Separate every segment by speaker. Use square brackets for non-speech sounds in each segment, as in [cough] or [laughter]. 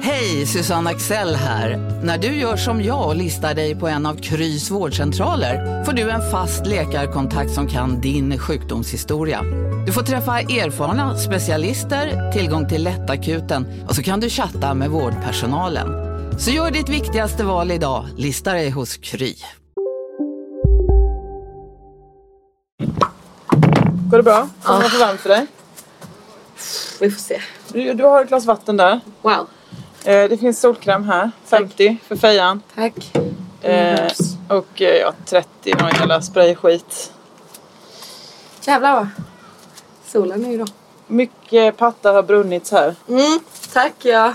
Speaker 1: Hej, Susanne Axel här. När du gör som jag och listar dig på en av Krys vårdcentraler får du en fast läkarkontakt som kan din sjukdomshistoria. Du får träffa erfarna specialister, tillgång till lättakuten och så kan du chatta med vårdpersonalen. Så gör ditt viktigaste val idag, lista dig hos Kry.
Speaker 2: Går det bra? Kommer det vara för varmt för dig?
Speaker 3: Vi får se.
Speaker 2: Du, du har ett glas vatten där.
Speaker 3: Wow.
Speaker 2: Eh, det finns solkräm här. 50 för fejan.
Speaker 3: Tack.
Speaker 2: Eh, och eh, ja, 30 någon jävla sprayskit.
Speaker 3: Jävlar vad solen är idag.
Speaker 2: Mycket patta har brunnits här.
Speaker 3: Mm, tack [laughs] ja.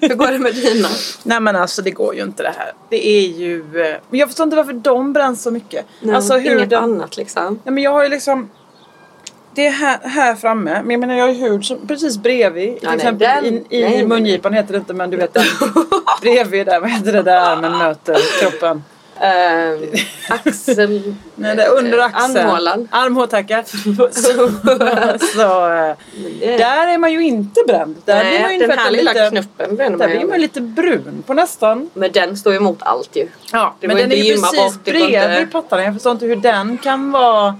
Speaker 3: Hur går det med dina?
Speaker 2: Nej men alltså det går ju inte det här. Det är ju... eh, Men jag förstår inte varför de bränns så mycket. alltså
Speaker 3: inget
Speaker 2: huden-
Speaker 3: annat liksom.
Speaker 2: Nej men jag har ju liksom... Det är här, här framme, men jag menar jag har ju hud som precis bredvid. till
Speaker 3: nej,
Speaker 2: exempel
Speaker 3: den-
Speaker 2: i, i
Speaker 3: nej, nej.
Speaker 2: mungipan heter det inte men du vet [laughs] den. bredvid där, vad heter det där armen möter kroppen?
Speaker 3: Ehm, axel...
Speaker 2: Nej, det är under axeln.
Speaker 3: Eh, Armhålan.
Speaker 2: Armhål
Speaker 3: [laughs]
Speaker 2: tackar. Så, så, eh, där är man ju inte bränd. Där blir man ju
Speaker 3: Nej,
Speaker 2: inte
Speaker 3: den här
Speaker 2: bättre
Speaker 3: lilla
Speaker 2: lite,
Speaker 3: knuppen bränner
Speaker 2: Där
Speaker 3: mig.
Speaker 2: blir man ju lite brun på nästan.
Speaker 3: Men den står ju emot allt ju.
Speaker 2: Ja,
Speaker 3: Det
Speaker 2: men
Speaker 3: går
Speaker 2: den är
Speaker 3: inte
Speaker 2: ju
Speaker 3: att gymma
Speaker 2: precis
Speaker 3: bort, det går inte-
Speaker 2: bredvid pattarna. Jag förstår inte hur den kan vara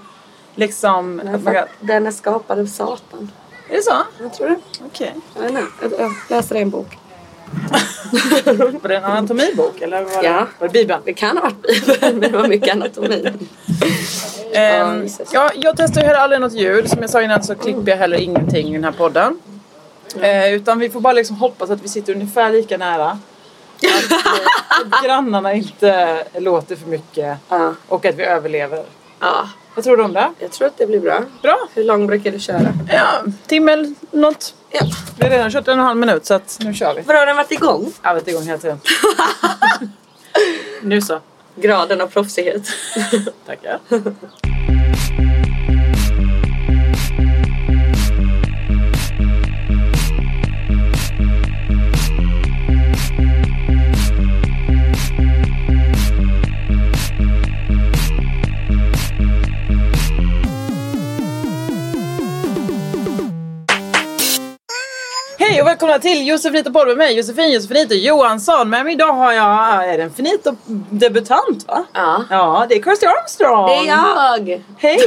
Speaker 2: liksom... att man kan-
Speaker 3: Den är skapad av Satan.
Speaker 2: Är det så?
Speaker 3: Jag tror det.
Speaker 2: Okej.
Speaker 3: Jag vet inte. Jag läser det i en bok.
Speaker 2: Var det en anatomibok eller var det,
Speaker 3: Ja.
Speaker 2: var det Bibeln?
Speaker 3: Det kan ha varit Bibeln, men det var mycket anatomi.
Speaker 2: Ehm,
Speaker 3: precis.
Speaker 2: ja, jag testar ju heller aldrig något ljud. Som jag sa innan så klipper jag heller ingenting i den här podden. Eh, utan vi får bara liksom hoppas att vi sitter ungefär lika nära. Att, eh, att grannarna inte låter för mycket.
Speaker 3: Ja.
Speaker 2: Och att vi överlever.
Speaker 3: ja,
Speaker 2: Vad tror du om det?
Speaker 3: jag tror att det blir bra.
Speaker 2: Bra!
Speaker 3: Hur lång brukar du köra?
Speaker 2: Ja, timme eller något.
Speaker 3: Ja.
Speaker 2: Vi har redan kört en och en halv minut så att nu kör vi.
Speaker 3: Vadå, har den varit igång?
Speaker 2: Jag vet igång hela tiden. [laughs] nu så.
Speaker 3: Graden av proffsighet.
Speaker 2: Tackar. Hej och välkomna till Josefinito Podd med mig Josefin Josefinito Johansson. Med mig idag har jag, är det en finito debutant va?
Speaker 3: Ja.
Speaker 2: Ja, det är Kirsty Armstrong.
Speaker 3: Det är jag!
Speaker 2: Hej!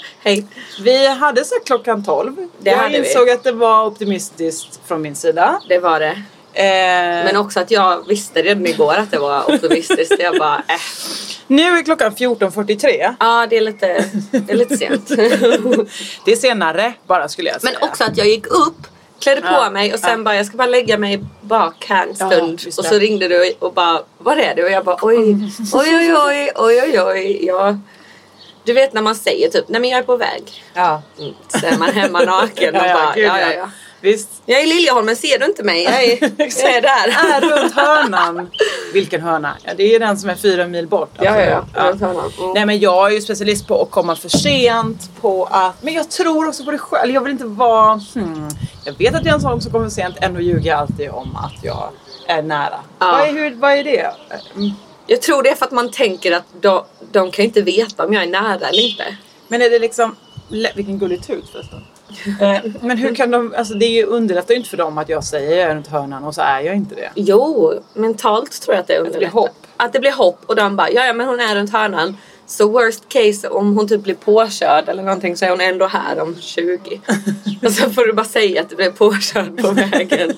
Speaker 3: [laughs] Hej.
Speaker 2: Vi hade sagt klockan 12.
Speaker 3: Det
Speaker 2: jag
Speaker 3: hade vi.
Speaker 2: insåg att det var optimistiskt från min sida.
Speaker 3: Det var det.
Speaker 2: Eh,
Speaker 3: Men också att jag visste redan igår att det var optimistiskt. Jag bara, äh.
Speaker 2: nu är klockan 14.43.
Speaker 3: Ja, det är lite, det är lite sent.
Speaker 2: Det är senare bara skulle jag säga.
Speaker 3: [laughs] Men också att jag gick upp, klädde på
Speaker 2: Ja,
Speaker 3: mig och sen
Speaker 2: ja.
Speaker 3: bara, jag ska bara lägga mig bak här en
Speaker 2: Ja,
Speaker 3: stund.
Speaker 2: just
Speaker 3: och
Speaker 2: det.
Speaker 3: så ringde du och bara, var är du? Och jag bara, oj, oj, oj, oj, oj, oj, oj. Ja. Du vet när man säger typ, nej men jag är på väg. Mm.
Speaker 2: Ja.
Speaker 3: Så är man hemma naken och
Speaker 2: Ja, ja,
Speaker 3: bara,
Speaker 2: gud,
Speaker 3: [laughs] ja,
Speaker 2: ja.
Speaker 3: ja, ja.
Speaker 2: Visst.
Speaker 3: Jag är i Liljeholmen, ser du inte mig? Jag är, jag är där.
Speaker 2: Är runt hörnan. Vilken hörna? Ja, det är den som är fyra mil bort.
Speaker 3: Ja,
Speaker 2: Alltså,
Speaker 3: ja, ja. Runt hörnan. Mm.
Speaker 2: Nej men jag är ju specialist på att komma för sent, på att... Men jag tror också på det själv. Jag vill inte vara... Hmm. Jag vet att jag är en sån som kommer för sent, ändå ljuger jag alltid om att jag är nära.
Speaker 3: Ja.
Speaker 2: Vad, är, hur, vad är det? Mm.
Speaker 3: Jag tror det är för att man tänker att de, de kan ju inte veta om jag är nära eller inte.
Speaker 2: Men är det liksom... lä- Vilken gullig tut förresten. Eh, men hur kan de... Alltså det är ju underlättar ju inte för dem att jag säger jag är runt hörnan och så är jag inte det.
Speaker 3: Jo, mentalt tror jag att det underlättar.
Speaker 2: blir hopp.
Speaker 3: Att det blir hopp och de bara, ja ja men hon är runt hörnan. Så worst case om hon typ blir påkörd eller någonting så är hon ändå här om [laughs] 20. och så får du bara säga att du blev påkörd [laughs] på vägen.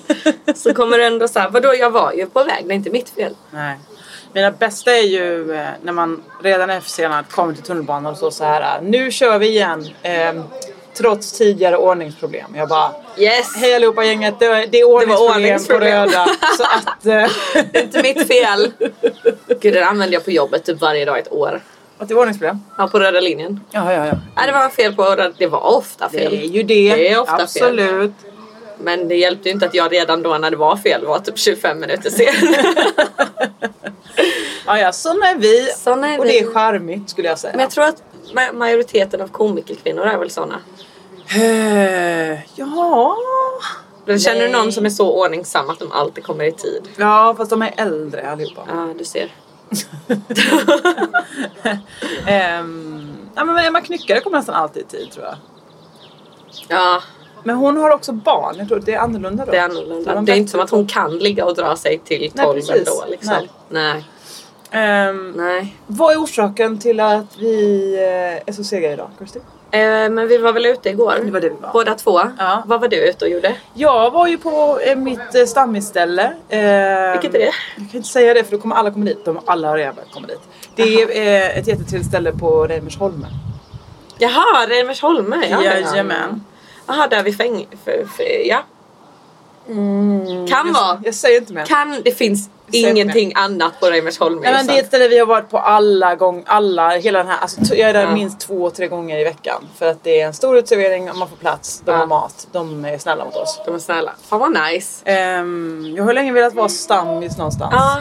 Speaker 3: så kommer du ändå såhär, vadå jag var ju på väg, det är inte mitt fel.
Speaker 2: Nej. Mina bästa är ju eh, när man redan är försenad kommer till tunnelbanan och så, så här. eh, Nu kör vi igen. Eh, trots tidigare ordningsproblem. Jag bara.
Speaker 3: Yes!
Speaker 2: Hej allihopa gänget. Det, det är ordningsproblem,
Speaker 3: ordningsproblem. [laughs]
Speaker 2: på röda. Så att, eh, [laughs]
Speaker 3: Det är inte mitt [laughs] fel. Gud det där använder jag på jobbet typ varje dag i ett år.
Speaker 2: att det är ordningsproblem.
Speaker 3: Ja, på röda linjen.
Speaker 2: Ja, ja, ja.
Speaker 3: Nej, det var fel på röda. Det var ofta
Speaker 2: Det
Speaker 3: fel.
Speaker 2: är ju det.
Speaker 3: Det är ofta fel.
Speaker 2: Absolut.
Speaker 3: Men det hjälpte ju inte att jag redan då när det var fel var typ 25
Speaker 2: [laughs]
Speaker 3: minuter sen.
Speaker 2: Ja, ja, sådana är vi.
Speaker 3: Såna är
Speaker 2: och det
Speaker 3: vi.
Speaker 2: är charmigt skulle jag säga.
Speaker 3: Men jag tror att ma- majoriteten av komikerkvinnor är väl såna.
Speaker 2: Eh, ja.
Speaker 3: Men Känner du någon som är så ordningsam att de alltid kommer i tid?
Speaker 2: ja, fast de är äldre allihopa.
Speaker 3: Ja, du ser.
Speaker 2: Ehm, ja, men Emma Knyckare kommer nästan alltid i tid tror jag.
Speaker 3: Ja,
Speaker 2: Men hon har också barn. Jag tror det är annorlunda då.
Speaker 3: det är
Speaker 2: Så
Speaker 3: annorlunda.
Speaker 2: de
Speaker 3: Det är
Speaker 2: vet
Speaker 3: inte som att hon kan ligga och dra sig till
Speaker 2: Nej,
Speaker 3: 12
Speaker 2: precis.
Speaker 3: ändå liksom.
Speaker 2: Nej.
Speaker 3: Nej. Nej.
Speaker 2: Ehm, Vad är orsaken till att vi eh, är så sega idag, Kirsty?
Speaker 3: Eh, men vi var väl ute igår?
Speaker 2: Det var det vi var.
Speaker 3: Båda två.
Speaker 2: Ja.
Speaker 3: Vad var du ute och gjorde?
Speaker 2: Jag var ju på eh, mitt eh, stammisställe. Eh,
Speaker 3: Vilket är det?
Speaker 2: Jag kan inte säga det för då kommer alla komma dit. De alla har redan kommit dit. Det är eh, ett jättetrevligt ställe på Reimersholmen.
Speaker 3: Jaha, Reimersholme. Ja, det var-
Speaker 2: Jajamän.
Speaker 3: Jaha, där vid fäng... För, för, ja.
Speaker 2: Mm,
Speaker 3: Kan vara.
Speaker 2: Jag säger inte mer.
Speaker 3: Kan. Det finns
Speaker 2: Säg inte
Speaker 3: ingenting annat på Reimersholm.
Speaker 2: Nej, men det är ett ställe vi har varit på alla gånger, alla, hela den här, alltså, t- jag är där
Speaker 3: Ja.
Speaker 2: minst två, tre gånger i veckan. För att det är en stor utservering, man får plats, de
Speaker 3: Ja.
Speaker 2: har mat, de är snälla mot oss.
Speaker 3: De är snälla. Fan vad nice.
Speaker 2: Ehm, jag har länge velat vara stammis någonstans.
Speaker 3: Ja.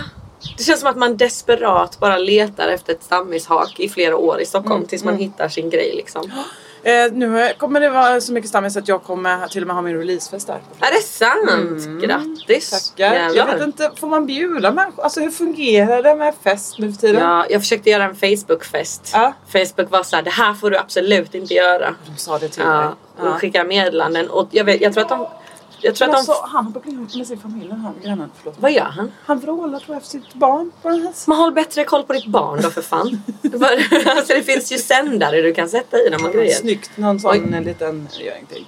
Speaker 3: Det känns som att man desperat bara letar efter ett stammishak i flera år i Stockholm
Speaker 2: Mm,
Speaker 3: tills man hittar sin grej liksom.
Speaker 2: Eh, nu har jag- kommer det vara så mycket stammis att jag kommer till och med ha min releasefest där.
Speaker 3: Är det sant? Grattis!
Speaker 2: Mm, Tackar. Jag
Speaker 3: Jävlar.
Speaker 2: vet inte, får man bjuda människor? Alltså hur fungerar det med fest nu för tiden?
Speaker 3: Ja, jag försökte göra en Facebookfest.
Speaker 2: Ja.
Speaker 3: Facebook var såhär, det här får du absolut inte göra.
Speaker 2: De sa det till
Speaker 3: Ja,
Speaker 2: mig.
Speaker 3: och skickar meddelanden. Och jag, vet, jag tror att de... Jag tror
Speaker 2: Men
Speaker 3: att de
Speaker 2: alltså, han hoppar in med sin familj, den här grannen. Förlåt.
Speaker 3: vad gör han?
Speaker 2: Han vrålar tror jag efter sitt barn på den här
Speaker 3: Man håll bättre koll på ditt barn då för [laughs] fan. Bara- alltså det finns ju sändare du kan sätta i dem och grejer.
Speaker 2: Snyggt, någon sån en liten, jag gör ingenting.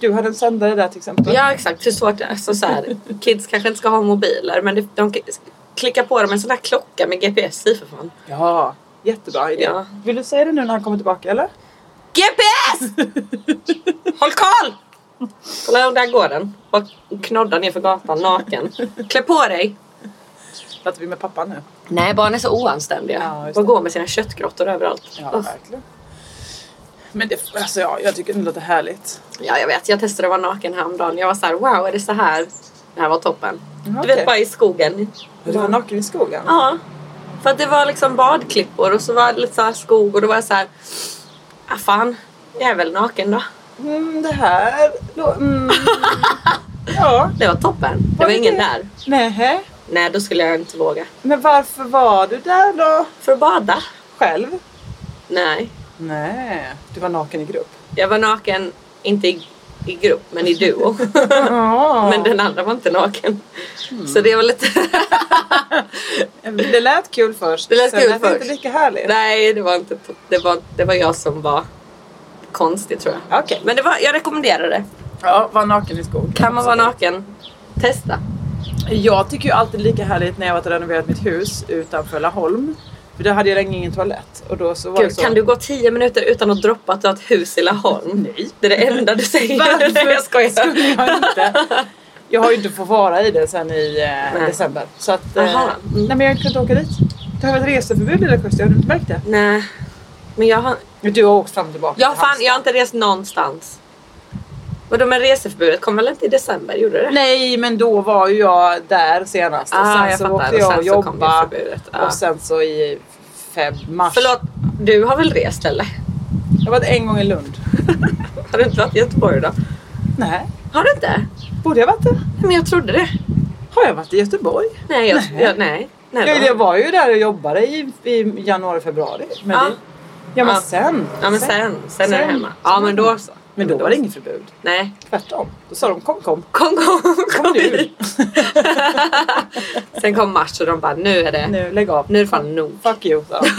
Speaker 2: Du hade en sändare där till exempel.
Speaker 3: Ja exakt, hur svårt det är. Så, så här, kids kanske inte ska ha mobiler men det, de kan- klicka på dem en sån här klocka med GPS i för fan.
Speaker 2: Ja, jättebra idé.
Speaker 3: Ja.
Speaker 2: Vill du säga det nu när han kommer tillbaka eller?
Speaker 3: [laughs] GPS! Håll koll! Kolla där går den. Bara knoddar ner för gatan naken. Klä på dig!
Speaker 2: Pratar vi med pappa nu?
Speaker 3: Nej, barn är så oanständiga.
Speaker 2: Ja, just
Speaker 3: Bara
Speaker 2: det.
Speaker 3: går med sina köttgrottor överallt.
Speaker 2: Ja,
Speaker 3: Uff.
Speaker 2: verkligen. Men det, alltså ja, jag tycker det låter härligt.
Speaker 3: Ja, jag vet. Jag testade att vara naken häromdagen. Jag var så här, wow, är det så här? Det här var toppen.
Speaker 2: Ja,
Speaker 3: Du vet,
Speaker 2: okej.
Speaker 3: bara i skogen.
Speaker 2: Du var naken i skogen?
Speaker 3: Ja. För att det var liksom badklippor och så var det lite så här skog och då var jag så här, ah fan, jag är väl naken då.
Speaker 2: Mm, det här... lå- [laughs] Mm, ja.
Speaker 3: Det var toppen. Det
Speaker 2: Var
Speaker 3: var
Speaker 2: det
Speaker 3: ingen
Speaker 2: det?
Speaker 3: där.
Speaker 2: Nähä.
Speaker 3: Nej, då skulle jag inte våga.
Speaker 2: Men varför var du där då?
Speaker 3: För att bada?
Speaker 2: Själv?
Speaker 3: Nej.
Speaker 2: Nej, du var naken i grupp.
Speaker 3: Jag var naken, inte i, i grupp, men i duo.
Speaker 2: Ja.
Speaker 3: men den andra var inte naken. Så det var lite... [laughs]
Speaker 2: Det lät kul först.
Speaker 3: Det lät
Speaker 2: sen
Speaker 3: kul
Speaker 2: lät det inte
Speaker 3: först.
Speaker 2: lika härligt.
Speaker 3: Nej, det var inte... Det var, det var jag som var konstig tror jag.
Speaker 2: Okej.
Speaker 3: Men det var, jag rekommenderar det.
Speaker 2: Ja, var naken i skogen.
Speaker 3: Kan man vara naken, testa.
Speaker 2: Jag tycker ju alltid lika härligt när jag varit och renoverat mitt hus utanför Laholm. För där hade jag länge ingen toalett. Och då så var det
Speaker 3: Gud,
Speaker 2: så. [laughs]
Speaker 3: kan du gå 10 minuter utan att droppa att du har ett hus i Laholm? Nej. Det är det enda du säger.
Speaker 2: Varför
Speaker 3: [laughs] jag skojar.
Speaker 2: skulle jag inte? [laughs] Jag har ju inte fått vara i det sen i eh,
Speaker 3: Nej.
Speaker 2: december. Så att... Eh,
Speaker 3: Aha.
Speaker 2: Nej men jag har inte kunnat åka dit. Du har väl reseförbud lilla Kirsti? Har du inte märkt det?
Speaker 3: Nej. Men jag har,
Speaker 2: Men Du har åkt fram och tillbaka.
Speaker 3: jag, har
Speaker 2: till
Speaker 3: fan,
Speaker 2: Halmstad.
Speaker 3: jag har inte rest någonstans. Vadå med reseförbudet? Kom väl inte i december? Gjorde det?
Speaker 2: Nej men då var ju jag där senast. och
Speaker 3: Ah,
Speaker 2: sen
Speaker 3: jag
Speaker 2: så
Speaker 3: fattar.
Speaker 2: åkte
Speaker 3: Och
Speaker 2: jag
Speaker 3: sen
Speaker 2: och
Speaker 3: så kom ju
Speaker 2: jobba.
Speaker 3: förbudet. Ja.
Speaker 2: Och sen så i feb, mars.
Speaker 3: Förlåt, du har väl rest eller?
Speaker 2: Jag var en gång i Lund.
Speaker 3: Har du inte varit i Göteborg då?
Speaker 2: Nej.
Speaker 3: Har du inte?
Speaker 2: Borde jag varit det?
Speaker 3: Men jag trodde det.
Speaker 2: Har jag varit i Göteborg?
Speaker 3: Nej, jag, nej. Jag, nej. nej
Speaker 2: Ja,
Speaker 3: då.
Speaker 2: jag var ju där och jobbade i, i januari, februari. Men
Speaker 3: Ja.
Speaker 2: det, ja men
Speaker 3: Ja.
Speaker 2: sen.
Speaker 3: Ja, men sen, sen, är du
Speaker 2: Sen.
Speaker 3: hemma. Ja, men då så.
Speaker 2: Men då var det inget förbud.
Speaker 3: Nej.
Speaker 2: Tvärtom. Då sa de kom kom.
Speaker 3: Kom, kom, kom,
Speaker 2: Kom
Speaker 3: hit.
Speaker 2: nu.
Speaker 3: Sen kom mars och de bara, nu är det, nu,
Speaker 2: nu lägg av.
Speaker 3: är det fan nog.
Speaker 2: Fuck you. sa de.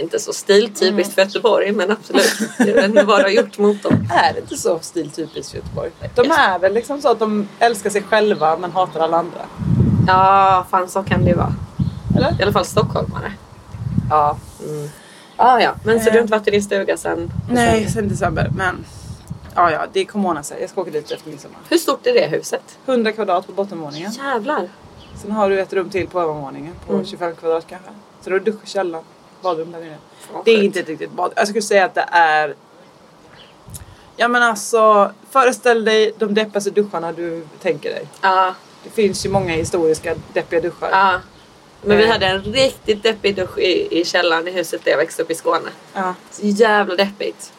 Speaker 3: Inte så stiltypiskt för Göteborg, men absolut. Jag vet inte vad du har gjort mot dem.
Speaker 2: är det inte så stiltypiskt för Göteborg? De är väl liksom så att de älskar sig själva men hatar alla andra.
Speaker 3: Ja, fan så kan det ju vara.
Speaker 2: Eller?
Speaker 3: I alla fall stockholmare.
Speaker 2: Ja.
Speaker 3: Ah, ja. Men så du har inte varit i din stuga sen?
Speaker 2: Nej, sen december. Men ja, ja, det kommer ordna sig. Jag ska åka dit efter midsommar.
Speaker 3: Hur stort är det huset?
Speaker 2: 100 kvadrat på bottenvåningen.
Speaker 3: Jävlar.
Speaker 2: Sen har du ett rum till på övervåningen på
Speaker 3: Mm.
Speaker 2: 25 kvadrat kanske. Så du har dusch, källaren, badrum där nere.
Speaker 3: vad
Speaker 2: Det är alltså,
Speaker 3: sjukt.
Speaker 2: inte ett riktigt bad. Jag skulle säga att det är Ja men alltså, föreställ dig de deppigaste duscharna du tänker dig.
Speaker 3: Ja,
Speaker 2: Det finns ju många historiska deppiga duschar.
Speaker 3: ja. Men vi
Speaker 2: Eh.
Speaker 3: hade en riktigt deppig dusch i, i källaren i huset där jag växte upp i Skåne.
Speaker 2: Ja.
Speaker 3: Så jävla deppigt.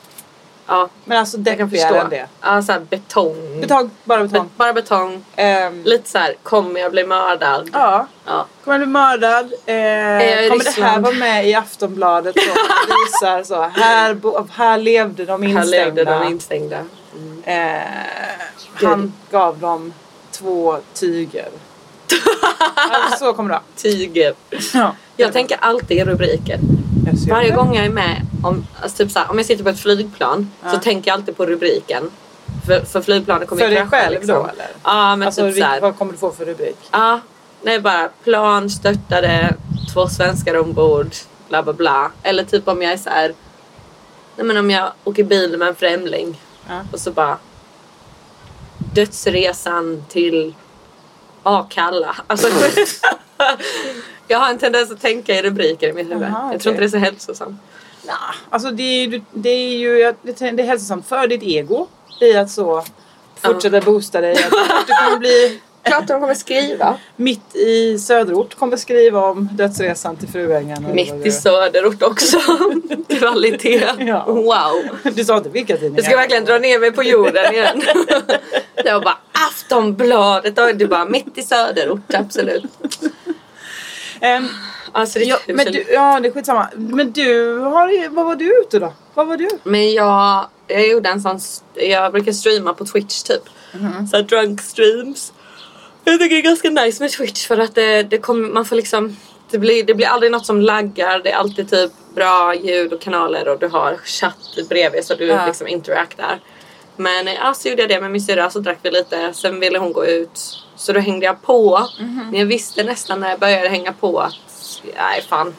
Speaker 3: Ja,
Speaker 2: Men alltså
Speaker 3: jag kan
Speaker 2: deppigare
Speaker 3: förstå.
Speaker 2: än det.
Speaker 3: Ja, såhär betong.
Speaker 2: Betong, bara betong.
Speaker 3: Be- bara betong.
Speaker 2: Ehm,
Speaker 3: Lite såhär, kommer jag bli mördad?
Speaker 2: ja.
Speaker 3: Ja.
Speaker 2: Kommer jag bli mördad? Eh,
Speaker 3: jag i
Speaker 2: kommer det här
Speaker 3: Ryssland?
Speaker 2: vara med i Aftonbladet?
Speaker 3: [laughs]
Speaker 2: Så visar så, här, bo, här levde de instängda. Mm.
Speaker 3: Här levde de instängda.
Speaker 2: Eh, han gav dem två [laughs] tyger. alltså, så kommer det vara.
Speaker 3: Tiger.
Speaker 2: Ja.
Speaker 3: Jag tänker alltid i rubriker.
Speaker 2: Jag ser
Speaker 3: Varje
Speaker 2: det.
Speaker 3: gång jag är med, om, alltså typ såhär, om jag sitter på ett flygplan så tänker jag alltid på rubriken. För, för flygplanet kommer
Speaker 2: För dig
Speaker 3: krascha,
Speaker 2: själv
Speaker 3: liksom.
Speaker 2: då, eller?
Speaker 3: Ja men
Speaker 2: Alltså,
Speaker 3: typ såhär.
Speaker 2: vilk- vad kommer du få för rubrik?
Speaker 3: Ja, nej bara plan störtade, två svenskar ombord, bla bla bla. Eller typ om jag är såhär, nej men om jag åker bil med en främling
Speaker 2: Ja.
Speaker 3: och så bara dödsresan till Akalla. Alltså, [laughs] jag har en tendens att tänka i rubriker i mitt huvud.
Speaker 2: Jaha,
Speaker 3: Jag tror
Speaker 2: okej.
Speaker 3: inte det är så hälsosamt.
Speaker 2: Nah, alltså det är, ju- det är ju det är hälsosamt för ditt ego i att så fortsätta boosta dig.
Speaker 3: [laughs]
Speaker 2: Att du kommer bli
Speaker 3: Klart de kommer skriva.
Speaker 2: mitt i söderort, kommer skriva om dödsresan till Fruängen. eller vad
Speaker 3: Mitt
Speaker 2: det
Speaker 3: i
Speaker 2: är.
Speaker 3: söderort också.
Speaker 2: [laughs]
Speaker 3: Kvalitet.
Speaker 2: Ja.
Speaker 3: Wow.
Speaker 2: Du sa inte vilka tidningar.
Speaker 3: Du ska verkligen dra ner mig på jorden igen. [laughs] Jag bara Aftonbladet och du bara mitt i söderort, absolut.
Speaker 2: Ehm,
Speaker 3: Alltså,
Speaker 2: [laughs]
Speaker 3: det
Speaker 2: ja, men du, ja, det är skitsamma. Men du, har, ju- vad var du ute då? Vad var du?
Speaker 3: men jag, jag gjorde en sån, jag brukar streama på Twitch typ.
Speaker 2: Mhm.
Speaker 3: Så här drunk streams. Jag tycker det är ganska nice med Twitch för att det, det kommer, man får liksom, det blir, det blir aldrig något som laggar. Det är alltid typ bra ljud och kanaler och du har chatt bredvid så du
Speaker 2: Ja.
Speaker 3: liksom interactar. Men eh, ja, så gjorde jag det med min syrra så drack vi lite. Sen ville hon gå ut. Så då hängde jag på.
Speaker 2: Mhm.
Speaker 3: Men jag visste nästan när jag började hänga på att nej fan.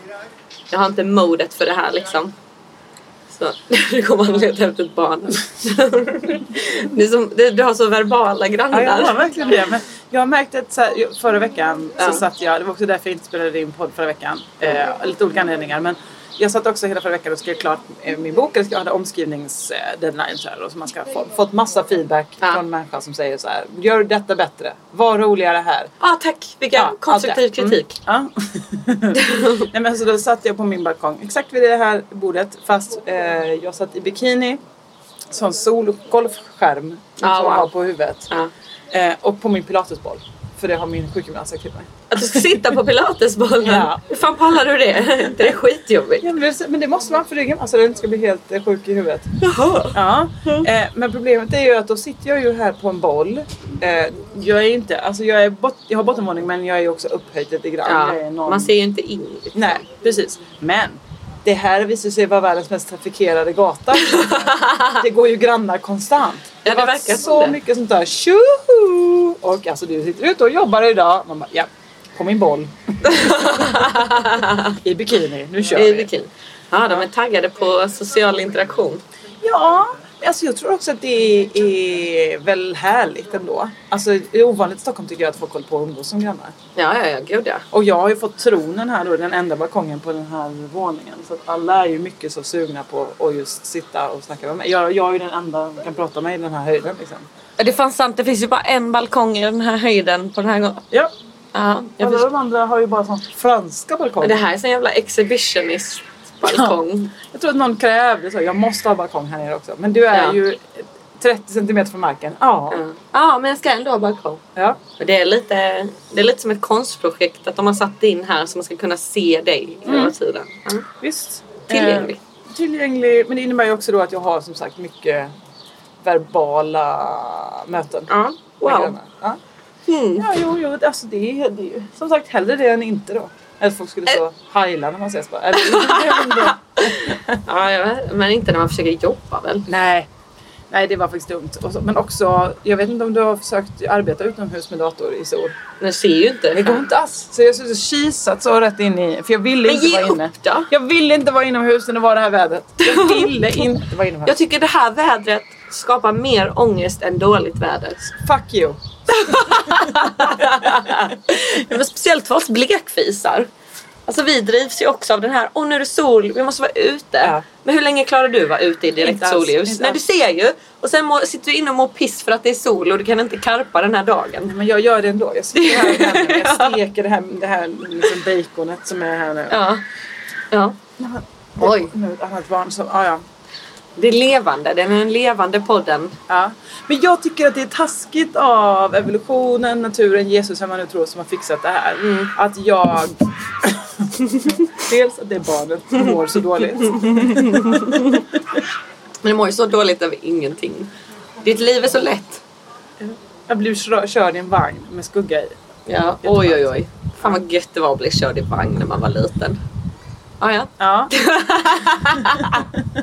Speaker 3: Jag har inte modet för det här liksom. Så [laughs] nu kommer han leta efter ett barn. [laughs] det är som, det, du har så verbala
Speaker 2: Ja,
Speaker 3: grannar.
Speaker 2: jag har verkligen det. Men jag har märkt att så här, jag- förra veckan
Speaker 3: Ja.
Speaker 2: så satt jag, det var också därför jag inte spelade in podd förra veckan. Eh, lite olika anledningar. Men jag satt också hela förra veckan och skrev klart eh, min bok. Jag hade omskrivningsdeadline så här, och så man ska få, fått massa feedback
Speaker 3: Ja.
Speaker 2: från människor som säger så här. Gör detta bättre. Var roligare här.
Speaker 3: ah, tack, vilken
Speaker 2: Ja,
Speaker 3: konstruktiv
Speaker 2: allt det. Mm.
Speaker 3: kritik.
Speaker 2: Ja. [laughs] Nej, men så då satt jag på min balkong exakt vid det här bordet fast eh, jag satt i bikini. Sån solgolfskärm
Speaker 3: Ah,
Speaker 2: som
Speaker 3: wow.
Speaker 2: man har på huvudet.
Speaker 3: Ja.
Speaker 2: Eh, och på min pilatesboll. För det har min sjukgymnast sagt till mig.
Speaker 3: Att du ska sitta på [laughs] pilatesbollen.
Speaker 2: Ja.
Speaker 3: Hur fan pallar du det? det är skitjobbigt.
Speaker 2: Ja, men, det, men det måste man för ryggen. Alltså den ska bli helt eh, sjuk i huvudet.
Speaker 3: Jaha.
Speaker 2: Ja. Eh, men problemet är ju att då sitter jag ju här på en boll. Eh, jag är inte, alltså jag, är bot, jag har bottenvåning men jag är ju också upphöjd lite grann.
Speaker 3: Ja,
Speaker 2: Jag är någon-
Speaker 3: man ser ju inte in. liksom.
Speaker 2: Nej, precis. Men det här visar sig vara världens mest trafikerade
Speaker 3: [laughs]
Speaker 2: gata. det går ju grannar konstant.
Speaker 3: Ja, det
Speaker 2: har
Speaker 3: verkar
Speaker 2: varit
Speaker 3: som
Speaker 2: så
Speaker 3: det.
Speaker 2: mycket sånt där tjoho! Och alltså du sitter ute och jobbar idag. Man bara, ja, på min
Speaker 3: [laughs]
Speaker 2: boll. I bikini, nu kör
Speaker 3: I
Speaker 2: vi.
Speaker 3: bikini. Ja, de är taggade på social interaktion.
Speaker 2: Ja, alltså jag tror också att det är väl härligt ändå. Alltså det är ovanligt i Stockholm tycker jag att folk håller på och umgås som grannar.
Speaker 3: Ja, ja, ja, gud ja.
Speaker 2: Och jag har ju fått tronen här då, den enda balkongen på den här våningen. Så att alla är ju mycket så sugna på att just sitta och snacka med mig. Jag, jag är ju den enda som kan prata med i den här höjden liksom.
Speaker 3: Ja, Det fanns sant, det finns ju bara en balkong i den här höjden på den här gången.
Speaker 2: Ja,
Speaker 3: Ja, jag
Speaker 2: alla
Speaker 3: förstår.
Speaker 2: de andra har ju bara sån franska balkong.
Speaker 3: Det här är sån jävla exhibitionist-balkong.
Speaker 2: Jag tror att någon krävde så, jag måste ha balkong här nere också. Men du är
Speaker 3: Ja.
Speaker 2: ju 30 centimeter från marken. Ja.
Speaker 3: Ja. ja, men jag ska ändå ha balkong.
Speaker 2: ja.
Speaker 3: Och Det är, lite, det är lite som ett konstprojekt att de har satt in här så man ska kunna se dig hela tiden. Ja.
Speaker 2: Visst.
Speaker 3: Tillgänglig.
Speaker 2: Eh, tillgänglig. Men det innebär ju också då att jag har som sagt mycket verbala möten.
Speaker 3: Ja.
Speaker 2: med
Speaker 3: Wow.
Speaker 2: grannar. Ja.
Speaker 3: Mm.
Speaker 2: Ja, jo, jo. Alltså det, är, det är ju som sagt hellre det än inte då. Eller folk skulle så heila när man ses bara. Eller, [laughs]
Speaker 3: Ja, jag vet. men inte när man försöker jobba väl?
Speaker 2: Nej. Nej, det var faktiskt dumt. Och så, men också, jag vet inte om du har försökt arbeta utomhus med dator i sol.
Speaker 3: Nu ser ju inte.
Speaker 2: Det går inte alls. Så jag har suttit och kisat så rätt in i... För jag ville
Speaker 3: Men
Speaker 2: inte
Speaker 3: ge
Speaker 2: vara inne.
Speaker 3: upp då!
Speaker 2: Jag ville inte vara inomhus när det var det här vädret. Jag
Speaker 3: [laughs]
Speaker 2: ville inte vara inomhus.
Speaker 3: Jag tycker det här vädret skapar mer ångest än dåligt väder. [laughs]
Speaker 2: Fuck you.
Speaker 3: Ja, men speciellt för oss blekfisar. Alltså vi drivs ju också av den här, åh nu är det sol, vi måste vara ute.
Speaker 2: Ja.
Speaker 3: Men hur länge klarar du vara ute i direkt
Speaker 2: Inte alls,
Speaker 3: solljus?
Speaker 2: inte
Speaker 3: Nej du
Speaker 2: alls.
Speaker 3: ser ju! Och sen må, sitter du inne och mår piss för att det är sol och du kan inte karpa den här dagen.
Speaker 2: Men jag gör det ändå.
Speaker 3: [laughs]
Speaker 2: Jag sitter här och värmer. jag steker det här, det här liksom baconet som är här nu.
Speaker 3: Ja. ja. Oj.
Speaker 2: Nu är ett annat barn som, ah, ja.
Speaker 3: Det är levande, den är den levande podden.
Speaker 2: Ja. Men jag tycker att det är taskigt av evolutionen, naturen, Jesus, vem man nu tror som har fixat det här. Att jag... [laughs] Dels att det är barnet som mår så dåligt.
Speaker 3: Men det mår ju så dåligt över ingenting. Ditt liv är så lätt.
Speaker 2: Jag blir kör- körd i en vagn med skugga i.
Speaker 3: Ja, oj oj oj. Fan vad gött det var att bli körd i vagn när man var liten. Ja, ja.
Speaker 2: Ja. [laughs]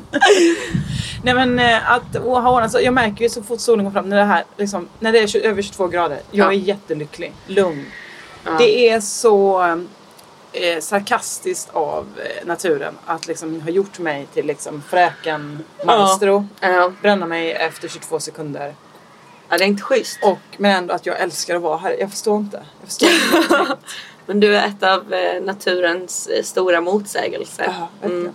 Speaker 2: Nej men eh, att och ha ordnat så. Jag märker ju så fort solen går fram när det, här, liksom, när det är tjo- över 22 grader. Jag
Speaker 3: Ja.
Speaker 2: är jättelycklig. Lugn.
Speaker 3: Ja.
Speaker 2: Det är så eh, sarkastiskt av eh, naturen att liksom ha gjort mig till liksom fräken maestro.
Speaker 3: Ja.
Speaker 2: Bränna mig efter 22 sekunder.
Speaker 3: ja, det är inte schysst.
Speaker 2: Och, men ändå att jag älskar att vara här. Jag förstår inte. Jag förstår
Speaker 3: [laughs]
Speaker 2: inte.
Speaker 3: Men du är ett av eh, naturens eh, stora motsägelser. Mm.
Speaker 2: Ja, verkligen.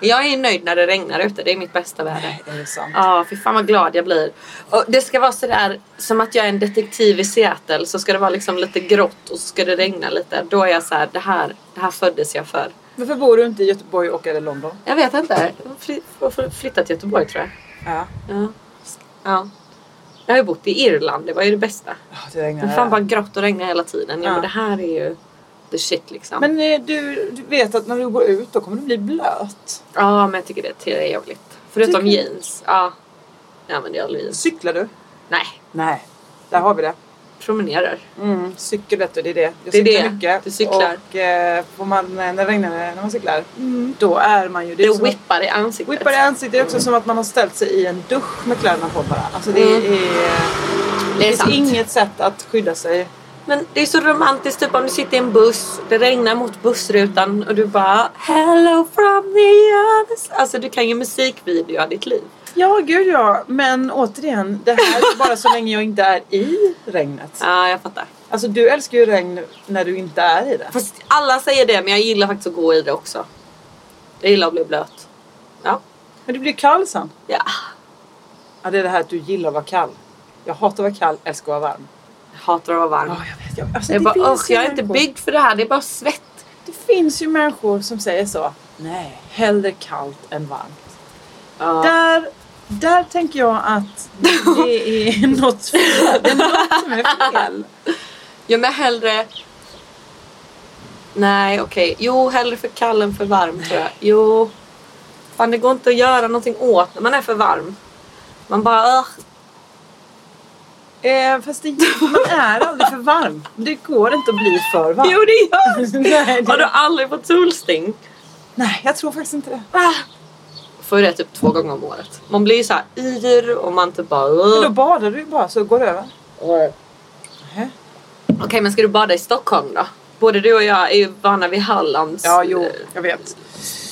Speaker 3: Jag är nöjd när det regnar ute, det är mitt bästa väder.
Speaker 2: Är det sant?
Speaker 3: Ja, fy fan vad glad jag blir. Och det ska vara sådär som att jag är en detektiv i Seattle så ska det vara liksom lite grått och så ska det regna lite. Då är jag så här, det här, det här föddes jag för.
Speaker 2: Varför bor du inte i Göteborg och eller London?
Speaker 3: Jag vet inte. Jag fly- får- får flytta till Göteborg tror jag.
Speaker 2: Ja.
Speaker 3: Ja. ja. Jag har ju bott i Irland, det var ju det bästa.
Speaker 2: Ja, Det regnar.
Speaker 3: Det är fan bara grått och regnar hela tiden. Ja,
Speaker 2: Ja.
Speaker 3: men det här är ju the shit liksom.
Speaker 2: Men eh, du, du vet att när du går ut då kommer du bli blöt.
Speaker 3: Ja, men jag tycker det är trevligt. Förutom
Speaker 2: Tycker du?
Speaker 3: jeans. Ja. Jag använder aldrig jeans.
Speaker 2: Cyklar du?
Speaker 3: Nej,
Speaker 2: Nej. Där har vi det.
Speaker 3: promenerar.
Speaker 2: Mm. Cykel vet du, det är det. Jag
Speaker 3: Det är
Speaker 2: cyklar
Speaker 3: det.
Speaker 2: mycket.
Speaker 3: Du cyklar. Mm.
Speaker 2: Och eh, får man, eh, när det regnar när man cyklar, då är man ju...
Speaker 3: Det
Speaker 2: är som att-
Speaker 3: whippar i ansiktet.
Speaker 2: Whippar i ansiktet. Det är också som att man har ställt sig i en dusch med kläderna på bara. Alltså det är...
Speaker 3: Mm. Det är
Speaker 2: finns
Speaker 3: sant.
Speaker 2: inget sätt att skydda sig.
Speaker 3: Men det är så romantiskt, typ om du sitter i en buss, det regnar mot bussrutan och du bara Hello from the other side." Alltså du kan ju musikvideo av ditt liv.
Speaker 2: Ja, gud ja. Men återigen, det här är bara så länge jag inte är i regnet.
Speaker 3: Ja, jag fattar.
Speaker 2: Alltså du älskar ju regn när du inte är i det.
Speaker 3: Fast alla säger det, men jag gillar faktiskt att gå i det också. Jag gillar att bli blöt. Ja.
Speaker 2: Men du blir kall sen.
Speaker 3: Ja.
Speaker 2: Ja, det är det här att du gillar att vara kall. Jag hatar att vara kall, älskar att vara varm.
Speaker 3: Jag hatar att vara varm.
Speaker 2: Ja, jag vet. Jag, alltså,
Speaker 3: jag
Speaker 2: det
Speaker 3: bara,
Speaker 2: finns
Speaker 3: usch,
Speaker 2: ju
Speaker 3: jag är inte
Speaker 2: människor-
Speaker 3: byggd för det här. Det är bara svett.
Speaker 2: Det finns ju människor som säger så. Nej, hellre kallt än varmt.
Speaker 3: Ja.
Speaker 2: Där, där tänker jag att
Speaker 3: [laughs]
Speaker 2: det är något fel. Det är något som är fel.
Speaker 3: Ja, men hellre... Nej, okej. Jo, hellre för kall än för varm tror jag. Jo. Fan, det går inte att göra någonting åt när man är för varm. Man bara, "Ugh."
Speaker 2: Eh, fast det, man är aldrig för varm. Det går inte att bli för varm.
Speaker 3: Jo, det gör
Speaker 2: [laughs] Nej,
Speaker 3: [laughs] Har du
Speaker 2: det,
Speaker 3: aldrig fått solsting?
Speaker 2: nej, jag tror faktiskt inte det.
Speaker 3: Ah. Får ju det typ två gånger om året. Man blir ju så här yr och man typ bara...
Speaker 2: Men
Speaker 3: "Ugh."
Speaker 2: då badar du ju bara så går det över. Nähä.
Speaker 3: Okej, men ska du bada i Stockholm då? Både du och jag är ju vana vid Hallands
Speaker 2: Ja, jo,
Speaker 3: eh,
Speaker 2: jag vet.